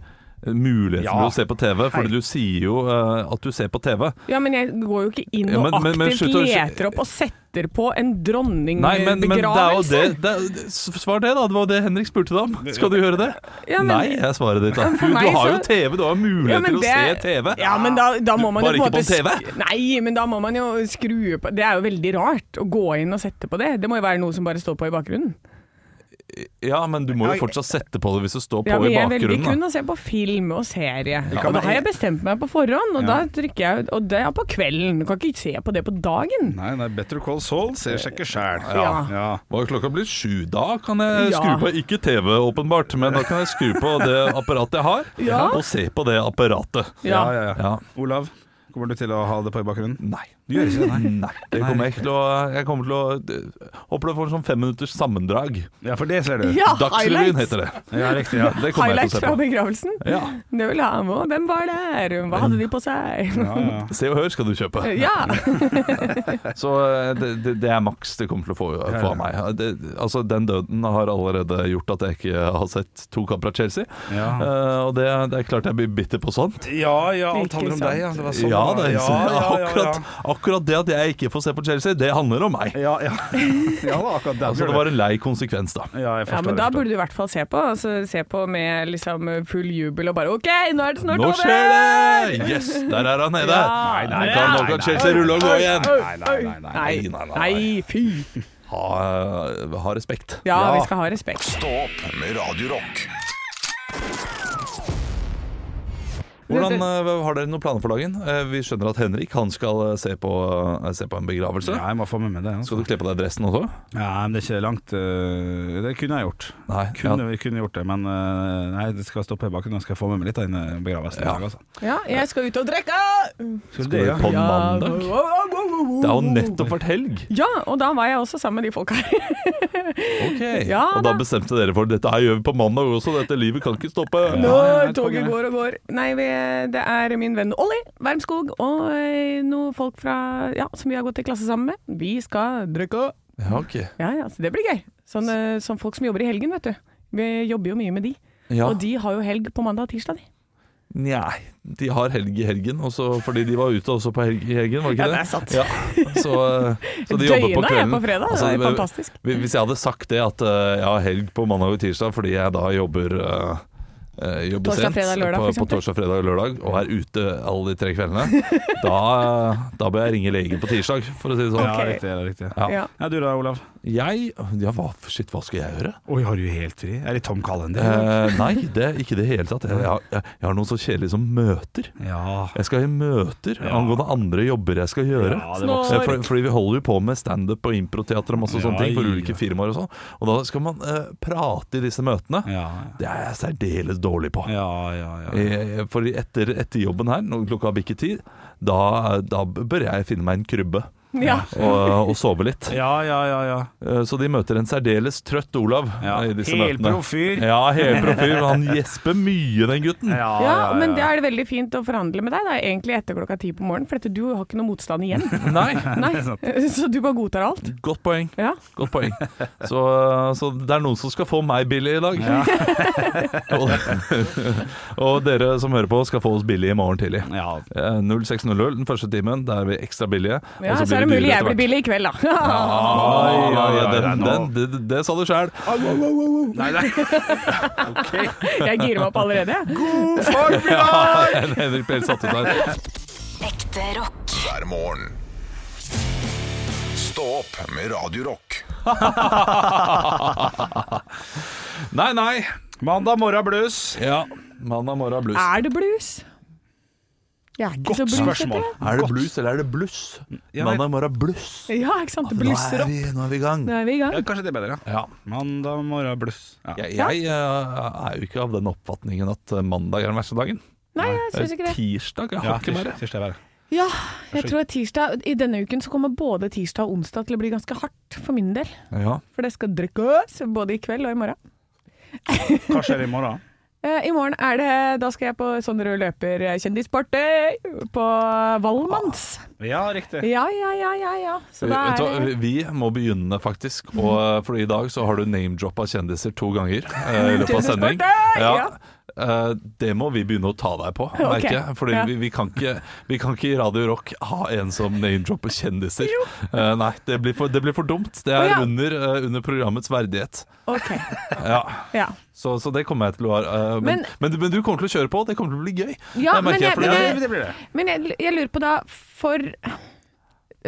D: eh, muligheten
E: Ja.
D: til å se på TV,
E: Hei.
D: fordi du sier jo eh, at du ser på TV.
C: Ja, men jeg går jo ikke inn
D: Ja,
C: og
D: men- men- men
C: aktivt
D: slutt å-
C: leter opp og setter på en
D: Nei, men, men det er jo
C: dronningbegravelse.
D: det, det er- Svar det, da. Det var jo det Henrik spurte deg om. Skal du gjøre det?
C: Ja, men-
D: Nei, er svaret ditt. Da.
C: for
D: Du, du
C: meg
D: har jo
C: så-
D: TV, du har mulighet
C: Ja, men
D: til å
C: det-
D: se TV.
C: Ja, men da, da må man
D: Bare
C: jo
D: ikke
C: måte
D: på
C: sk- Nei, men da må man jo skru på Det er jo veldig rart å gå inn og sette på det. Det må jo være noe som bare står på i bakgrunnen.
D: Ja, men du må jo fortsatt sette på det hvis det står på
C: Ja, men
D: i
C: jeg er veldig
D: bakgrunnen. da.
C: kun å se på film og serie.
E: kan
C: og da
E: være-
C: har jeg bestemt meg på forhånd, og da trykker jeg ut Og det er på kvelden. Du kan ikke se på det på dagen.
E: Nei, nei, Better Call Saul ser seg ikke sjæl.
C: Ja.
E: Ja.
D: Hva er klokka blir sju? Da kan jeg
C: Ja.
D: skru på Ikke TV, åpenbart, men da kan jeg skru på det apparatet jeg har,
C: Ja.
D: og se på det apparatet.
E: Ja.
C: Ja.
E: Ja, ja,
D: Ja.
E: Olav, kommer du til å ha det på i bakgrunnen?
D: Nei.
E: Du gjør ikke det, nei.
D: Nei. Det kommer jeg ikke til å Jeg kommer til å Håper du får sånn fem minutters sammendrag.
E: Ja, for det ser du.
C: Ja,
D: Dagsrevyen
C: Ah, highlights.
D: heter det.
E: Ja, riktig. Ja.
D: Det kommer jeg
C: Highlights
D: til
C: fra
D: å se på.
C: begravelsen.
D: Ja.
C: Det vil jeg ha med. Hvem var der? Hva hadde de på seg?
E: Ja, ja.
D: Se og Hør skal du kjøpe.
C: Ja!
D: Så eh, det, det, det er maks det kommer til å få få av meg. Det, altså, den døden har allerede gjort at jeg ikke har sett to kamper av Chelsea.
E: Ja.
D: Eh, og det, det er klart jeg blir bitter på sånt.
E: ja, ja, alt
C: Ikke
E: handler om
C: sant.
E: deg, ja. Det var sånn.
D: ja, det,
E: ja, ja, ja, ja.
D: akkurat, akkurat det at jeg ikke får se på Chelsea, det handler om meg.
E: Ja, ja. ja, det var akkurat der.
D: Altså, det var en lei konsekvens, da.
E: Ja, jeg
C: Ja,
E: forstår.
C: men da
E: jeg forstår.
C: burde du i hvert fall se på. Altså, se på med liksom full jubel og bare OK, nå er det snart
D: Nå
C: over!
D: skjer det! Yes, der er han nede.
C: Ja. Nei, nei,
D: Nå kan, nå kan Chelsea rulle og gå igjen.
C: Oi,
E: Nei, nei, nei, nei.
C: Nei,
D: nei, nei.
C: nei, fy!
D: Ha, ha respekt.
C: Ja,
E: Ja.
C: vi skal ha respekt.
B: Stå opp med Radio Rock.
D: Hvordan eh, Har dere noen planer for dagen? Eh, Vi skjønner at Henrik han skal eh, se på, eh, se på en begravelse.
E: Ja, jeg må få med meg det. Altså.
D: Skal du kle på deg dressen også?
E: Ja, men det er ikke langt øh, Det kunne jeg gjort.
D: Nei,
E: Kunne, kunne gjort det, men øh, nei, det skal stå på i bakgrunnen. Skal jeg få med meg litt av denne begravelsen. i
D: Ja.
E: dag, Altså.
C: Ja, jeg skal ut og drikke!
E: Skal
D: Skal du på
C: Ja,
D: mandag?
C: wow, wow, wow, wow, wow.
D: Det har jo nettopp vært helg.
C: Ja, og da var jeg også sammen med de folka her.
D: Ok,
C: Ja,
D: Og da
C: da.
D: bestemte dere for dette her gjør vi på mandag også. Dette livet kan ikke stoppe.
E: Ja,
C: Nå,
E: ja, ja,
C: toget
E: konge.
C: går og går. Nei, vi, det er min venn Olli Wermskog og eh, noen folk fra, ja, som vi har gått i klasse sammen med. Vi skal drikke.
D: Ja, ok.
C: Ja, ja, så det blir gøy. Sånn, eh, sånn folk som jobber i helgen, vet du. Vi jobber jo mye med de.
D: Ja.
C: Og de har jo helg på mandag og tirsdag, de.
D: Nei, de har helg i helgen, og så- fordi de var ute også på helg i helgen, var det ikke
C: Ja,
D: det?
C: det er sant.
D: Ja, så, eh, så de jobber på
C: Døgnet er på
D: kvelden. Altså,
C: fredag, det er fantastisk.
D: hvi- Hvis jeg hadde sagt det, at eh, jeg har helg på mandag og tirsdag fordi jeg da jobber eh, eh, jobber
C: Torsdag,
D: sent
C: fredag, lørdag, for
D: på, på
C: eksempel.
D: torsdag, fredag og lørdag, og er ute alle de tre kveldene, da, da bør jeg ringe legen på tirsdag, for å si det sånn.
E: Ja,
C: Ok.
E: riktig. Ja, riktig.
D: Ja.
C: Ja.
E: Ja, du da, Olav?
D: Jeg Ja, hva, shit, hva skal jeg gjøre?
E: Oi, har du helt fri? Er det tom kalender?
D: Eh, nei, det, ikke i det hele tatt. Jeg, jeg, jeg har noe så kjedelig som møter.
E: Ja.
D: Jeg skal i møter
E: Ja.
D: angående andre jobber jeg skal gjøre.
E: Ja, det
C: Snå-
E: vokser.
D: Eh, Fordi, fordi vi holder jo på med standup og improteater og masse sånne
E: Ja,
D: ting for
E: ja.
D: ulike firmaer og sånn. Og da skal man eh, prate i disse møtene.
E: Ja,
D: Det er jeg særdeles dårlig på.
E: ja, ja. ja.
D: Eh, For etter, etter jobben her, når klokka bikker ti, da, da bør jeg finne meg en krybbe
C: Ja.
D: og, og sove litt.
E: Ja, ja, ja, ja.
D: Eh, Så de møter en særdeles trøtt Olav
E: Ja,
D: eh, i disse
E: helt
D: møtene.
E: profyr.
D: Ja, helt profyr. Han gjesper mye, den gutten.
C: Ja, men det er det veldig fint å forhandle med deg, da, egentlig etter klokka ti på morgenen. For dette, du har ikke noe motstand igjen.
D: Nei,
C: Nei. Så du bare godtar alt.
D: godt poeng.
C: Ja.
D: Godt poeng. Så, så det er noen som skal få meg billig i dag. og, og dere som hører på, skal få oss billig i morgen tidlig.
E: Ja,
D: Eh, 06.00 den første timen, da er vi ekstra billige.
C: Ja,
D: og
C: så er det mulig jeg
D: etter
C: blir
D: hvert.
C: billig i kveld, da.
D: Ai, ja, ja,
E: Ai, ai,
D: den,
E: ai,
D: den,
E: nå.
D: det, det- det sa du sjøl.
E: Nei, nei.
C: Jeg girer meg opp allerede. jeg.
D: Henrik ble helt satt ut der.
F: Ekte rock.
B: hver morgen. Stå opp med Radio Rock.
D: Nei, nei.
E: Mandag morgen blues.
D: Ja, Mandag morgen blues.
C: Er det blues? Jeg er ikke så
E: Godt
C: bluesete,
E: spørsmål.
C: jeg.
D: Er det blues eller er det bluss?
E: Ja, men-
D: Mandag morgen bluss.
C: Ja, ikke sant. Det
D: Nå
C: blusser
D: er,
C: opp.
D: vi, nå er vi i gang.
C: Nå er vi i gang.
E: Ja, kanskje det er bedre, ja.
D: Ja.
E: Mandag morgen blues. Ja.
D: Jeg, jeg eh, er jo ikke av den oppfatningen at eh, mandag er den verste dagen.
C: Nei, jeg syns ikke det.
D: Tirsdag er
E: Ja,
D: hakket verre.
E: tirs- tirsdag er verre.
C: Ja, jeg tror tirsdag I denne uken så kommer både tirsdag og onsdag til å bli ganske hardt for min del.
D: Ja.
C: For det skal drikkes både i kveld og i morgen.
E: Hva skjer i morgen?
C: Eh, I morgen er det Da skal jeg på sånn rød løper eh, kjendisparty på Valmanns.
E: Ja,
D: Ah.
E: riktig.
C: Ja, ja, ja, ja. ja. Så da
D: Eh, Vet du
C: er
D: hva,
C: det
D: vi må begynne, faktisk. Og, eh, for i dag så har du name-droppa kjendiser to ganger eh, i løpet av sending.
C: Kjendisparty! Ja.
D: Eh, det må vi begynne å ta deg på, merker jeg. Fordi
C: ja.
D: vi, vi, kan ikke, vi kan ikke i Radio Rock ha en som name-dropper kjendiser. Eh, nei, det blir, for, det blir for dumt. Det
C: Å,
D: er
C: ja.
D: under, eh, under programmets verdighet.
C: OK.
D: Ja.
C: Ja.
D: Så, så det kommer jeg til å ha. eh,
C: Men-
D: men, men, du- men du kommer til å kjøre på, det kommer til å bli gøy.
C: Ja,
D: Det merker
C: men jeg-
D: for
E: Ja,
D: det-
E: det, det blir det.
C: Men jeg, jeg lurer på da, for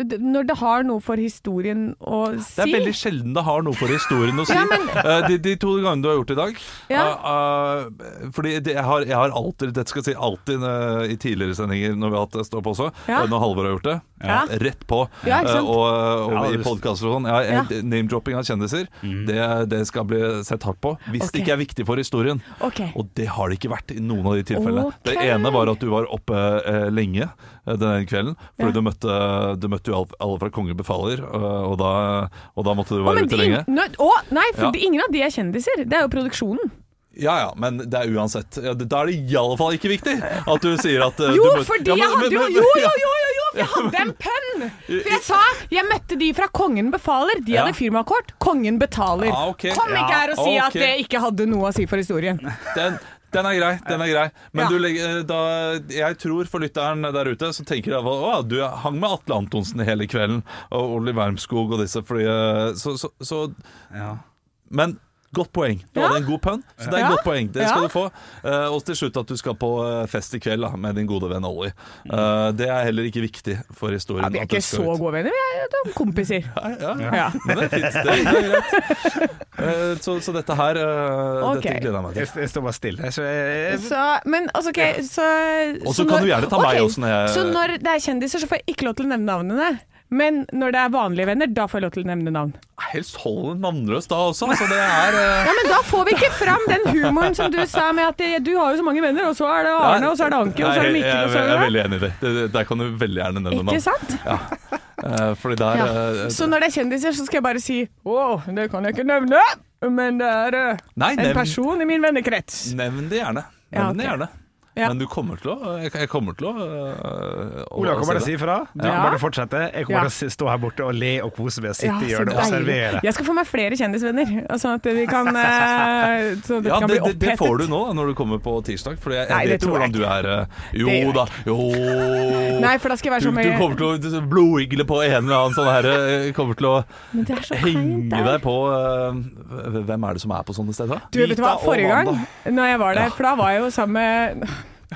C: d- Når det har noe for historien å si
D: Det er veldig sjelden det har noe for historien å si.
C: Ja, men-
D: Eh, de, de to gangene du har gjort det i dag.
C: Ja.
D: eh, eh, fordi det, jeg, har, jeg har alltid Dette skal jeg si alltid eh, i tidligere sendinger når vi har hatt det stå på også.
C: Ja.
D: eh, Når Halvor har gjort det.
C: Ja.
D: Rett på.
C: Ja, ikke
D: Eh,
C: sant?
D: og og
E: Ja,
D: i
E: det- Mm.
D: podkaster og sånn. Ja,
C: Ja.
D: eh, Name-dropping av kjendiser, det, det skal bli sett hardt på. Hvis
C: Ok.
D: det ikke er viktig for historien.
C: Ok.
D: Og det har det ikke vært i noen av de tilfellene.
C: Ok.
D: Det ene var at du var oppe eh, lenge eh, den ene kvelden, fordi
C: Ja.
D: du, møtte, du møtte jo alle, alle fra Konge befaler, eh, og da, og da måtte du
C: Å,
D: være
C: men de-
D: ute lenge.
C: nå- å, nei, for
D: Ja.
C: de, ingen av de er kjendiser. Det er jo produksjonen.
D: Ja ja, men det er uansett ja, det- Da er det iallfall ikke viktig at du sier at eh,
C: Jo,
D: du møtte-
C: fordi
D: Ja, men-
C: jeg hadde
D: men-
C: jo
D: men-
C: Jo, jo, jo, jo! jo for jeg hadde en pønn! For jeg sa jeg møtte de fra Kongen befaler. De
D: Ja.
C: hadde firmakort. Kongen betaler.
D: Ja, ok.
C: Kom ikke
D: Ja,
C: her og si at
D: ok.
C: det ikke hadde noe å si for historien.
D: Den, den er grei. den er grei Men
C: Ja.
D: du legger, eh, da, jeg tror for lytteren der ute Så tenker jeg at du hang med Atle Antonsen hele kvelden, og Olli Wermskog og disse. Fordi, eh, så, så, så
E: Ja.
D: Men godt poeng. Du
C: Ja.
D: hadde en god pønn, så det er
C: Ja.
D: et godt poeng. Det
C: Ja.
D: skal du få. Eh, og til slutt at du skal på eh, fest i kveld da, med din gode venn Ollie. Eh, det er heller ikke viktig for historien.
C: Mm. Ja, vi er
D: at det
C: ikke
D: skal
C: så
D: ut.
C: gode venner, vi er jo kompiser.
D: Ja, ja.
C: Ja.
D: Men det er fint. Det er greit. Eh, så, så dette her eh,
C: Ok.
D: Dette gleder jeg meg
E: Jeg,
D: til.
E: jeg står bare stille. Så jeg,
C: Så, men altså, ok så,
D: Og så
C: når-
D: kan du gjerne ta
C: Ok,
D: meg også når jeg-
C: Så når det er kjendiser, så får jeg ikke lov til å nevne navnene. Men når det er vanlige venner, da får jeg lov til å nevne navn.
D: Helst hold den navnløs da også. Så det er eh,
C: Ja, Men da får vi ikke fram den humoren som du sa med at eh, du har jo så mange venner, og så er det Arne, og så er det Anki, og så er det
D: Nei, jeg-
C: Mikkel, og så
D: Jeg, jeg er
C: er det
D: veldig enig i det. det. det- Der kan du veldig gjerne nevne
C: Ikke sant?
D: Eh, fordi der
C: Ja.
D: eh,
C: Så når det er kjendiser, så skal jeg bare si Å, det kan jeg ikke nevne, men det er eh,
D: Nei,
C: en
D: nevn-
C: person i min vennekrets.
D: Nevn det gjerne. Nevn
C: Ja,
D: det
C: ok.
D: gjerne.
C: Ja.
D: Men du kommer til å Jeg, jeg kommer til å, øh, å
E: Ola
D: å
E: kommer til å
D: se
E: si
D: det.
E: ifra. Du
C: Ja.
E: kommer til å fortsette. Jeg
C: Ja.
E: kommer til å stå her borte og le og kose meg og sitte i
C: Ja, så
E: hjørnet og
C: deilig.
E: servere.
C: Jeg skal få meg flere kjendisvenner, sånn at vi kan, eh, sånn at det
D: Ja,
C: kan
D: det,
C: bli opphetet.
D: det, det får du nå da, når du kommer på tirsdag. For jeg, jeg
C: Nei, det
D: vet jo
C: tror jeg
D: hvordan du er. øh, Jo
C: Det gjør jeg
D: da, jo
C: Nei, for da skal jeg være
D: du,
C: så
D: du
C: mye
D: kommer til å du- blodigle på en eller annen sånn herre Kommer til å
C: Men det er så kleint
D: henge
C: der.
D: deg på øh, Hvem er det som er på sånne steder?
C: Du, vet du hva,
D: Vita og
C: forrige gang
D: Wanda.
C: når jeg var der, for da var jeg jo sammen med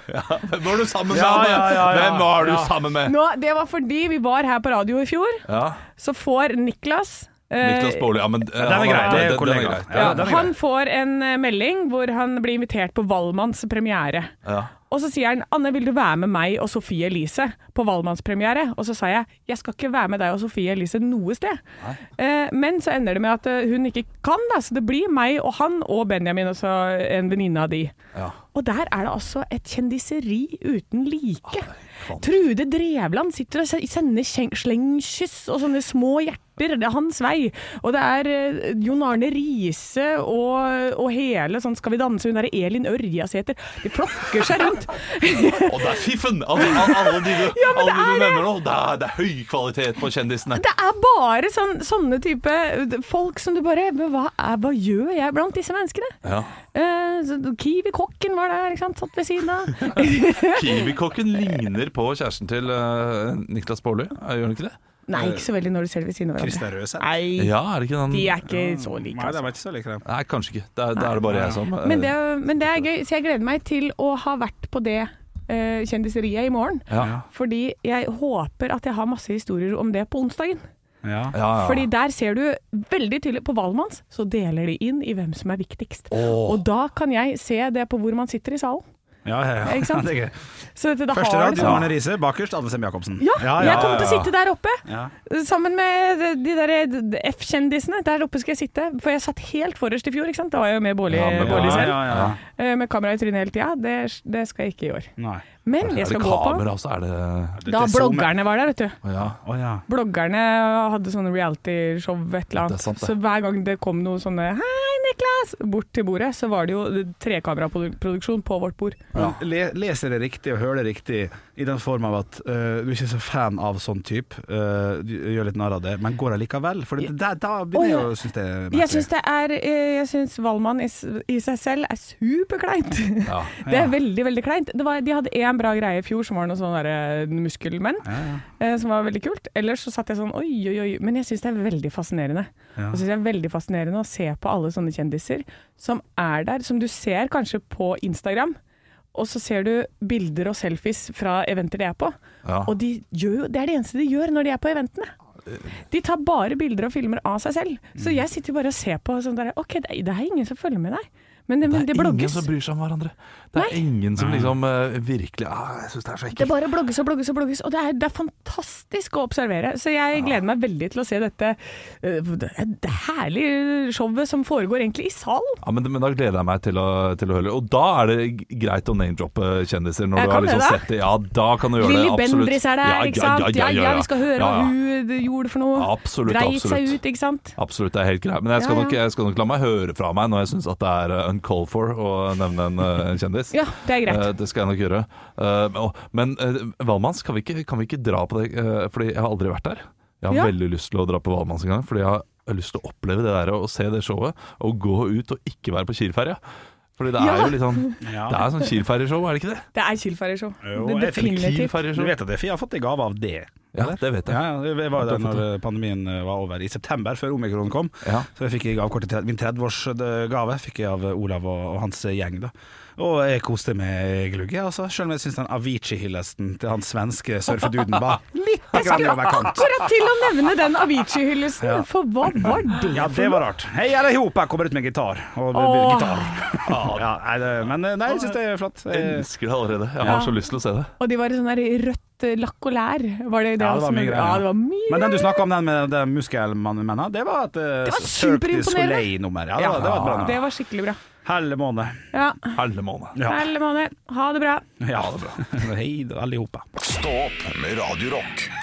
D: Hvem var du sammen med?
E: Ja,
D: Anne?
E: ja, ja, ja.
D: Hvem var du
E: Ja.
D: sammen med?
C: nå, Det var fordi vi var her på radio i fjor,
D: Ja,
C: så får Niklas eh,
D: Niklas Baarli. Ja, men, øh,
E: Den er
D: han-
E: grei. Det er
D: den-
E: jo
D: den er
E: kollega.
D: grei.
E: Ja,
C: ja,
E: den er
C: han
E: grei.
C: får en eh, melding hvor han blir invitert på Valmanns premiere.
D: Ja.
C: Og så sier han 'Anne, vil du være med meg og Sofie Elise på Valmannspremiere?' Og så sa jeg 'Jeg skal ikke være med deg og Sofie Elise noe sted'. Eh, men så ender det med at eh, hun ikke kan, da, så det blir meg og han og Benjamin, altså en venninne av de.
D: Ja.
C: Og der er det altså et kjendiseri uten like. Trude Drevland sitter og se- sender kjeng- slengkyss og sånne små hjerter det er hans vei. Og det er eh, Jon Arne Riise og, og hele sånn Skal vi danse, hun der Elin Ørjasæter. De flokker seg rundt.
D: Og det er fiffen! Altså, al- alle de du,
C: Ja, men det
D: alle de
C: er
D: du
C: det.
D: nevner nå, det er, det er høy kvalitet på kjendisene.
C: Det er bare sånn, sånne type eh, folk som du bare Men hva, er, hva gjør jeg blant disse menneskene?
D: Ja.
C: Eh, så Kiwi-kokken var der, ikke sant? Satt ved siden av.
D: Kiwi-kokken ligner på kjæresten til eh, Niklas Baarli, eh, gjør han ikke det?
C: Nei, ikke så veldig når du ser det ved siden av hverandre.
E: Christer Røseth?
C: Nei,
D: Ja, er det ikke den
C: de er ikke så like.
E: Nei,
C: altså.
E: de er ikke så like, de.
D: Nei, kanskje ikke. Da, da er det bare jeg som eh,
C: Men det, er- men det er gøy, så jeg gleder meg til å ha vært på det eh, kjendiseriet i morgen.
D: ja. Ja,
C: Fordi jeg håper at jeg har masse historier om det på onsdagen.
E: Ja.
D: ja.
C: Fordi der ser du veldig tydelig På Valmanns så deler de inn i hvem som er viktigst.
D: Åh.
C: Og da kan jeg se det på hvor man sitter i salen.
E: Ja, ja, ja.
C: Ikke sant?
E: Det er gøy.
C: Så dette, da
E: Første
C: har
E: rad,
C: du- sånn-
E: Arne Riise. Bakerst, Anne Sem Jacobsen.
C: Ja, jeg kommer til
D: ja,
C: å sitte der oppe
E: Ja.
C: sammen med de der F-kjendisene. Der oppe skal jeg sitte, for jeg satt helt forrest i fjor, ikke sant. Da var jeg jo med Bårli
D: Ja,
E: Ja,
D: med
C: Bårli
E: ja,
C: selv.
E: ja, ja.
C: Eh, Med kamera i trynet hele tida. Det, det skal jeg ikke i år.
E: Nei.
C: Men jeg
D: Er det
C: skal gå på
D: kamera, så er det
C: da
E: Dette er så
C: bloggerne var der, vet du.
D: Ja.
E: Å ja.
C: Bloggerne hadde sånne realityshow, et eller
D: Det er
C: annet.
D: sant, det.
C: Så hver gang det kom noe sånne 'Hei, Niklas!' bort til bordet, så var det jo trekameraproduksjon på vårt bord.
E: Men Le, leser det riktig og hører det riktig i den form av at øh, du er ikke så fan av sånn type, øh, du gjør litt narr av det, men går allikevel? For det, da, da begynner jeg
C: Å, ja.
E: å synes det er
C: Jeg syns det er eh, Jeg syns Valmann i, s- i seg selv er superkleint.
D: Ja.
C: Det er veldig, veldig kleint. Det var, de hadde én bra greie i fjor som var noe sånn derre muskelmenn, eh, som var veldig kult. Ellers så satt jeg sånn oi, oi, oi. Men jeg syns det er veldig fascinerende. Og syns det er veldig fascinerende å se på alle sånne kjendiser som er der, som du ser kanskje på Instagram. Og så ser du bilder og selfies fra eventer de er på.
D: Ja.
C: Og de gjør jo, det er det eneste de gjør når de er på eventene. De tar bare bilder og filmer av seg selv.
D: Mm.
C: Så jeg sitter bare og ser på sånn der OK, det er- det er ingen som følger med deg. Men det, men det
D: Det er ingen
C: blogges.
D: som bryr seg om hverandre. Det er ingen som liksom eh, virkelig ah, Jeg syns det er så
C: Det
D: ekkelt.
C: bare blogges og blogges og blogges, og det er, det er fantastisk å observere. Så jeg gleder meg veldig til å se dette eh, det herlige showet som foregår egentlig i salen.
D: Ja, men, men da gleder jeg meg til å, til å høre Og da er det g- greit å name-droppe kjendiser. Når
C: Jeg
D: du har
C: kan det,
D: liksom
C: da.
D: sett det. Ja, da kan du gjøre
C: Lilly
D: det. Absolutt.
C: Bendriss er der,
D: Ja,
C: ikke sant. Ja, ja, vi skal høre
D: Ja, ja.
C: hva hun øh, gjorde for noe.
D: Absolutt,
C: Dreit
D: absolutt.
C: seg ut, ikke sant.
D: Absolutt, det er helt greit. Men jeg skal,
C: Ja, ja.
D: Nok, jeg skal nok la meg høre fra meg når jeg syns det er eh, uncalled for å nevne en, eh, en kjendis.
C: Ja, det er greit.
D: Eh, det skal jeg nok gjøre. Eh, og- men eh, Valmanns, kan vi, ikke, kan vi ikke dra på det? eh, fordi jeg har aldri vært der. Jeg har
C: Ja.
D: veldig lyst til å dra på Valmanns en gang, fordi jeg har lyst til å oppleve det der og se det showet. Og gå ut og ikke være på Kielferja. Fordi det er
C: Ja.
D: jo litt sånn Det er sånn Kielferjeshow, er det ikke det?
C: Det er Kielferjeshow.
E: Jo,
C: Det-
E: jeg tenker
C: Definitivt.
E: Du
D: Kielferjeshow.
E: vet at det- jeg har fått en gave av det?
D: Ja, det vet jeg.
E: Ja, ja, jeg var jo der når pandemien eh, var over. I september, før omikron kom.
D: Ja.
E: Så jeg fikk i gavekort til tre- min 30-årsgave fikk jeg av Olav og, og hans gjeng. da Og jeg koste meg glugg, jeg også. Selv om jeg syns den Avicii-hillesten til han svenske surfeduden var litt grann i overkant.
C: Akkurat til å nevne den Avicii-hyllesten,
E: Ja.
C: for hva var det?
E: Ja, det var rart. Hei, jeg er ihop, jeg kommer ut med gitar. Og
C: Åh.
E: gitar. Ja, nei, det, men eh, nei, jeg syns det er flott.
D: Jeg
E: Eh,
D: elsker det allerede. Jeg har så lyst til å se det.
C: Og de var i sånn der rødt eh, lakk og lær. Var det det
E: Ja, det
C: også?
E: var mye greier.
C: Ja, det var mye
E: Men den du snakka om, den med de muskelmennene, det var et eh,
C: var
E: Cirque du
C: superimponerende.
E: Soleil-nummer. Ja, det, var- det var et bra
C: greier.
E: nummer.
C: Det var skikkelig bra.
E: Helle måned.
C: Ja.
D: Hele måneden.
E: Ja.
C: Herlig måned. Ha det bra.
E: Ja, det er bra. Hei, alle i hop.
B: Stå opp med Radio Rock.